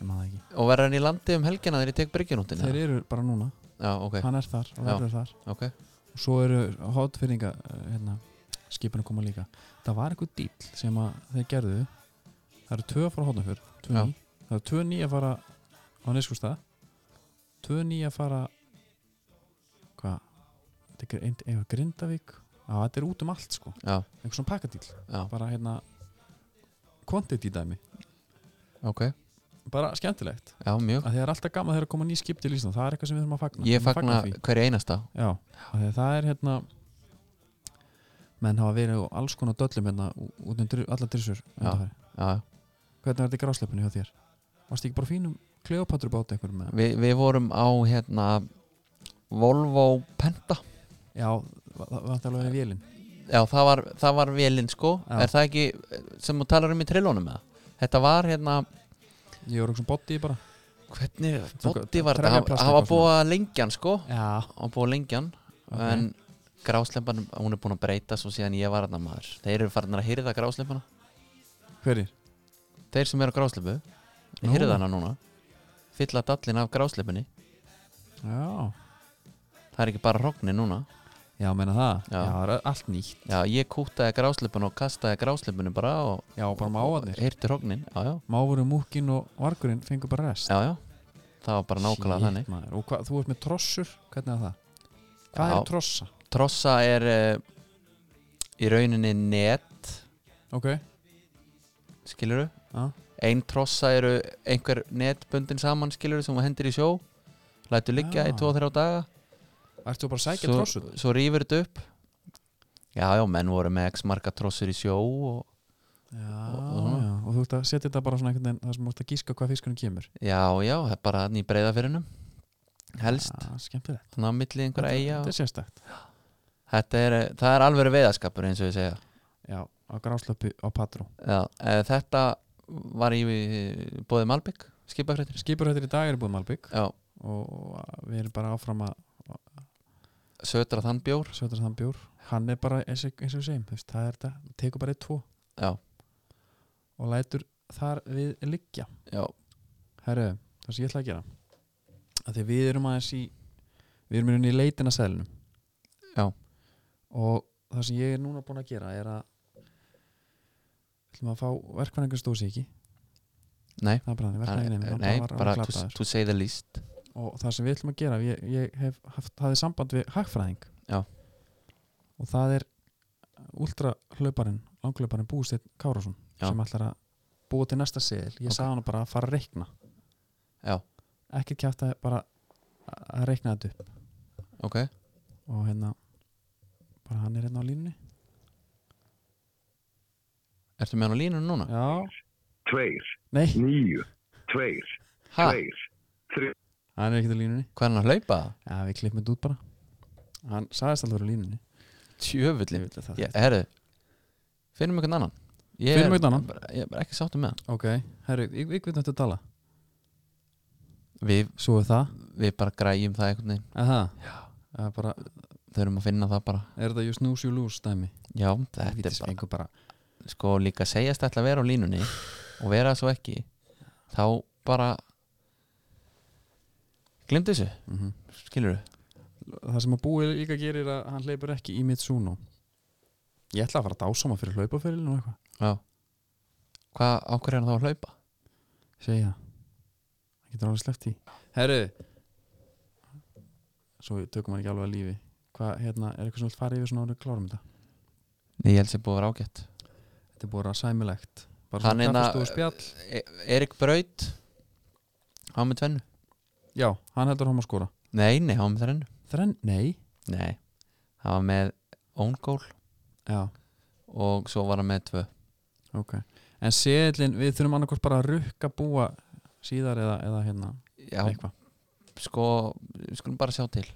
Speaker 1: ég maður það ekki
Speaker 2: og verður hann í landi um helgina þegar ég tek bryggjunútin
Speaker 1: þeir eru bara núna,
Speaker 2: já, ok,
Speaker 1: hann er þar og
Speaker 2: Já.
Speaker 1: verður er þar
Speaker 2: ok
Speaker 1: og svo eru hotfyrringa hérna, skipinu koma líka það var einhver dýl sem að þeir gerðu það eru tvö að fara hotnafjörð tvö
Speaker 2: Já.
Speaker 1: ný. það eru tvö ný að fara á neskústa tvö ný að fara hvað þetta er gr- ein- eitthvað Grindavík á, þetta er út um allt sko
Speaker 2: já,
Speaker 1: einhver svona pakkadýl
Speaker 2: já,
Speaker 1: bara hérna quantity dæmi
Speaker 2: ok
Speaker 1: bara skemmtilegt
Speaker 2: Já, mjög
Speaker 1: að það er alltaf gaman þegar að koma ný skip til Ísland það er eitthvað sem við þurfum að fagna
Speaker 2: Ég
Speaker 1: Við þurfum að
Speaker 2: fagna
Speaker 1: því.
Speaker 2: hverju einasta
Speaker 1: Já, af því að það er hérna menn hafa verið á alls konar döllum hérna ú- út um dr alla drissur undanfarið.
Speaker 2: já,
Speaker 1: Hvernig var þetta í grásleipinu hjá þér? Varst ekki bara á fínum kleopatru bát einhverjum með?
Speaker 2: Vi, Við vorum á hérna Volvo Penta
Speaker 1: Já, það það var alltaf alveg vélinn
Speaker 2: Já, það var, það var vélinn sko
Speaker 1: Já.
Speaker 2: Er það ekki eh, sem þú talar um í trillónum með Þetta var hérna
Speaker 1: Ég voru eitthvað bótti bara
Speaker 2: Hvernig
Speaker 1: Tók-
Speaker 2: bótti var
Speaker 1: trefjaplast
Speaker 2: þetta?
Speaker 1: eitthvað
Speaker 2: Það var búið
Speaker 1: svona.
Speaker 2: að lengjan sko
Speaker 1: Já
Speaker 2: Það var búið að lengjan En gráslempan, hún er búin að breyta Svo síðan ég var hérna maður Þeir eru farin að hyrða gráslempana
Speaker 1: Hverjir?
Speaker 2: Þeir sem eru á gráslempu
Speaker 1: Nú.
Speaker 2: Hyrða hana núna Fylla dallin af gráslempunni
Speaker 1: Já
Speaker 2: Það er ekki bara hrognin núna
Speaker 1: Já, meina það
Speaker 2: Já.
Speaker 1: það er allt nýtt
Speaker 2: Já, ég kútaði gráslepun og kastaði gráslepunu bara og
Speaker 1: Já, bara mávarnir
Speaker 2: heyrti hróknin Já, já,
Speaker 1: Mávarum, múkin og vargurinn fengur bara rest
Speaker 2: já, já Það var bara nákvæmlega
Speaker 1: Shit,
Speaker 2: þannig
Speaker 1: maður. Og hvað, þú ert með trossur, hvernig er það? Hvað
Speaker 2: Já.
Speaker 1: er trossa?
Speaker 2: Trossa er uh, í rauninni net,
Speaker 1: Ok
Speaker 2: skiluru
Speaker 1: Já.
Speaker 2: Ein trossa eru einhver netbundin saman, skiluru, sem þú hendir í sjó Lætur liggja
Speaker 1: Já.
Speaker 2: í 2-3 daga
Speaker 1: Ertu bara að sækja
Speaker 2: Svo-
Speaker 1: trossur?
Speaker 2: Svo rýfur þetta upp Já, já, menn voru með x marga trossur í sjó og,
Speaker 1: Já,
Speaker 2: og- og-
Speaker 1: já, og þú ert að setja þetta bara svona einhvern veginn þar sem þú ert að gíska hvað fiskunum kemur
Speaker 2: Já, já, það er bara þannig í breyðafyrinum Helst,
Speaker 1: Já, skemmtilegt
Speaker 2: þannig að milli einhverja eiga og-
Speaker 1: Þetta er sérstakt
Speaker 2: Þetta er, það er alveg veiðaskapur eins og ég segja
Speaker 1: Já, á gráslöpu á patrú
Speaker 2: Já, eh, Þetta var í bóði Malbygg, skipafréttir
Speaker 1: Skipur þetta í dag er búið Malbygg
Speaker 2: Já,
Speaker 1: og við erum bara áfram að
Speaker 2: sötra þann bjór
Speaker 1: sötra þann bjór Hann er bara eins og, eins og við segjum, þú veist, það er þetta tekur bara eitt tvo
Speaker 2: Já,
Speaker 1: og lætur þar við liggja
Speaker 2: já,
Speaker 1: Herru, það sem ég ætla að gera að því að við erum aðeins í við erum í rauninni í leitin að seðlunum
Speaker 2: Já.
Speaker 1: og það sem ég er núna búin að gera er að ætlum að fá verkværingar stóðsíki
Speaker 2: Nei. eh,
Speaker 1: það er bara þannig, verknaði nefnir
Speaker 2: Nei, bara to, to say the least
Speaker 1: og það sem við ætlum að gera ég, ég hef haft, hafði samband við hagfræðing
Speaker 2: Já.
Speaker 1: og það er ultrahlauparinn, langlauparinn Bústeinn Kárásson
Speaker 2: Já.
Speaker 1: sem ætlar að búa til næsta seðil ég
Speaker 2: Ok.
Speaker 1: sagði hann bara að fara að reikna
Speaker 2: Já.
Speaker 1: ekki kjátt að bara að reikna þetta upp
Speaker 2: Ok,
Speaker 1: og hérna bara hann er hérna á línunni
Speaker 2: ertu með hann á línunum núna?
Speaker 1: Já.
Speaker 3: tveir,
Speaker 1: nei,
Speaker 3: níu, tveir,
Speaker 2: Ha,
Speaker 3: tveir, þrjú.
Speaker 1: hann er ekkert á línunni
Speaker 2: hvað er hann að hlaupa?
Speaker 1: já, við klippum þetta út bara hann sagðist alltaf að vera á línunni
Speaker 2: Tjöfulli
Speaker 1: Ég veit að það-
Speaker 2: Ég- Herru, finnum einhvern annan Ég
Speaker 1: Finnum
Speaker 2: er-
Speaker 1: einhvern annan.
Speaker 2: bara- Ég er bara ekki sáttum með hann
Speaker 1: ok, herru, ég, ég veit þetta að tala
Speaker 2: Við,
Speaker 1: svo er það,
Speaker 2: við bara græjum það einhvern veginn
Speaker 1: eða það Það er bara,
Speaker 2: Þau erum að finna það bara
Speaker 1: er þetta you snooze you lose dæmi
Speaker 2: Já, þetta er
Speaker 1: Helvítis
Speaker 2: bara
Speaker 1: fengur bara
Speaker 2: Sko líka segjast ætla að vera á línunni Og vera svo ekki Þá bara Glimtu þessu, skilur du?
Speaker 1: Mhm. það sem að búi líka gerir að hann hleypur ekki í mitt súnum ég ætla að fara að dásama fyrir hlaupaferilin og eitthvað
Speaker 2: Já Hvað, á hverju er hann þá að hlaupa?
Speaker 1: segi það það getur alveg sleppt í herru svo við tökum hann ekki alveg að lífi hvað, hérna, er eitthvað sem vilt fara yfir svona árið klárum þetta
Speaker 2: Nei, ég held sér búið að vera ágætt
Speaker 1: þetta er búið að vera sæmilegt bara
Speaker 2: Hann
Speaker 1: svona
Speaker 2: hérna-
Speaker 1: kaffastofu spjall
Speaker 2: e Erik Braut Há með tvennu
Speaker 1: já, hann heldur hann að skora
Speaker 2: Nei, nei, há með þrennu
Speaker 1: þrenn, nei
Speaker 2: Nei, það var með own goal
Speaker 1: já,
Speaker 2: og svo var hann með tvö
Speaker 1: ok en seðlin, við þurfum annarkvort bara að rukka búa síðar eða, eða hérna
Speaker 2: Já,
Speaker 1: eitthvað,
Speaker 2: sko, við skulum bara sjá til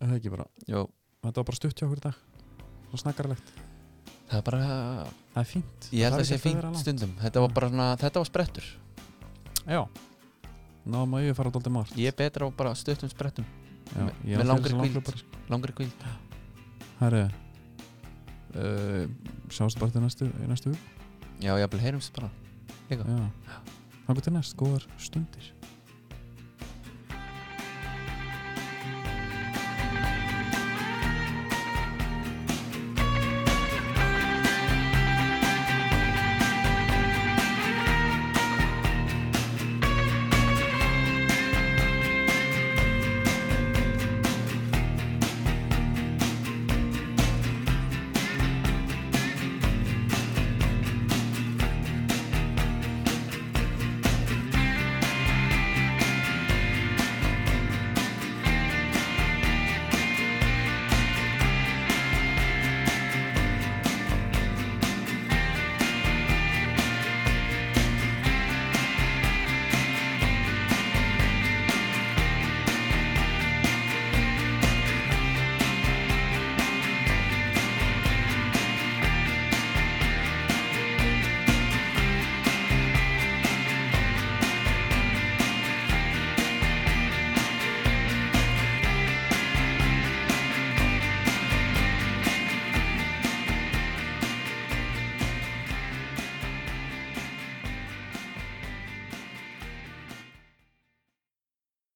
Speaker 1: er það ekki bara
Speaker 2: Jó,
Speaker 1: þetta var bara stutt hjá okkur í dag og snakkarlegt,
Speaker 2: það er bara
Speaker 1: það er fínt
Speaker 2: ég held
Speaker 1: Það
Speaker 2: að
Speaker 1: þarf
Speaker 2: sé
Speaker 1: ekki
Speaker 2: fínt
Speaker 1: vera langt.
Speaker 2: stundum þetta var bara svona, þetta var sprettur
Speaker 1: já, náðum að yfirfara dálítið margt
Speaker 2: ég er betra á bara stuttum sprettum
Speaker 1: já,
Speaker 2: með-
Speaker 1: ég
Speaker 2: með
Speaker 1: á
Speaker 2: langri
Speaker 1: fyrir
Speaker 2: hvíld.
Speaker 1: langhlaupara, sko.
Speaker 2: langri kvíld
Speaker 1: herru uh, sjáumst bara til næstu, í næstu hug
Speaker 2: Já, ég heyrum sér bara Já.
Speaker 1: já, þangur til næst, góðar stundir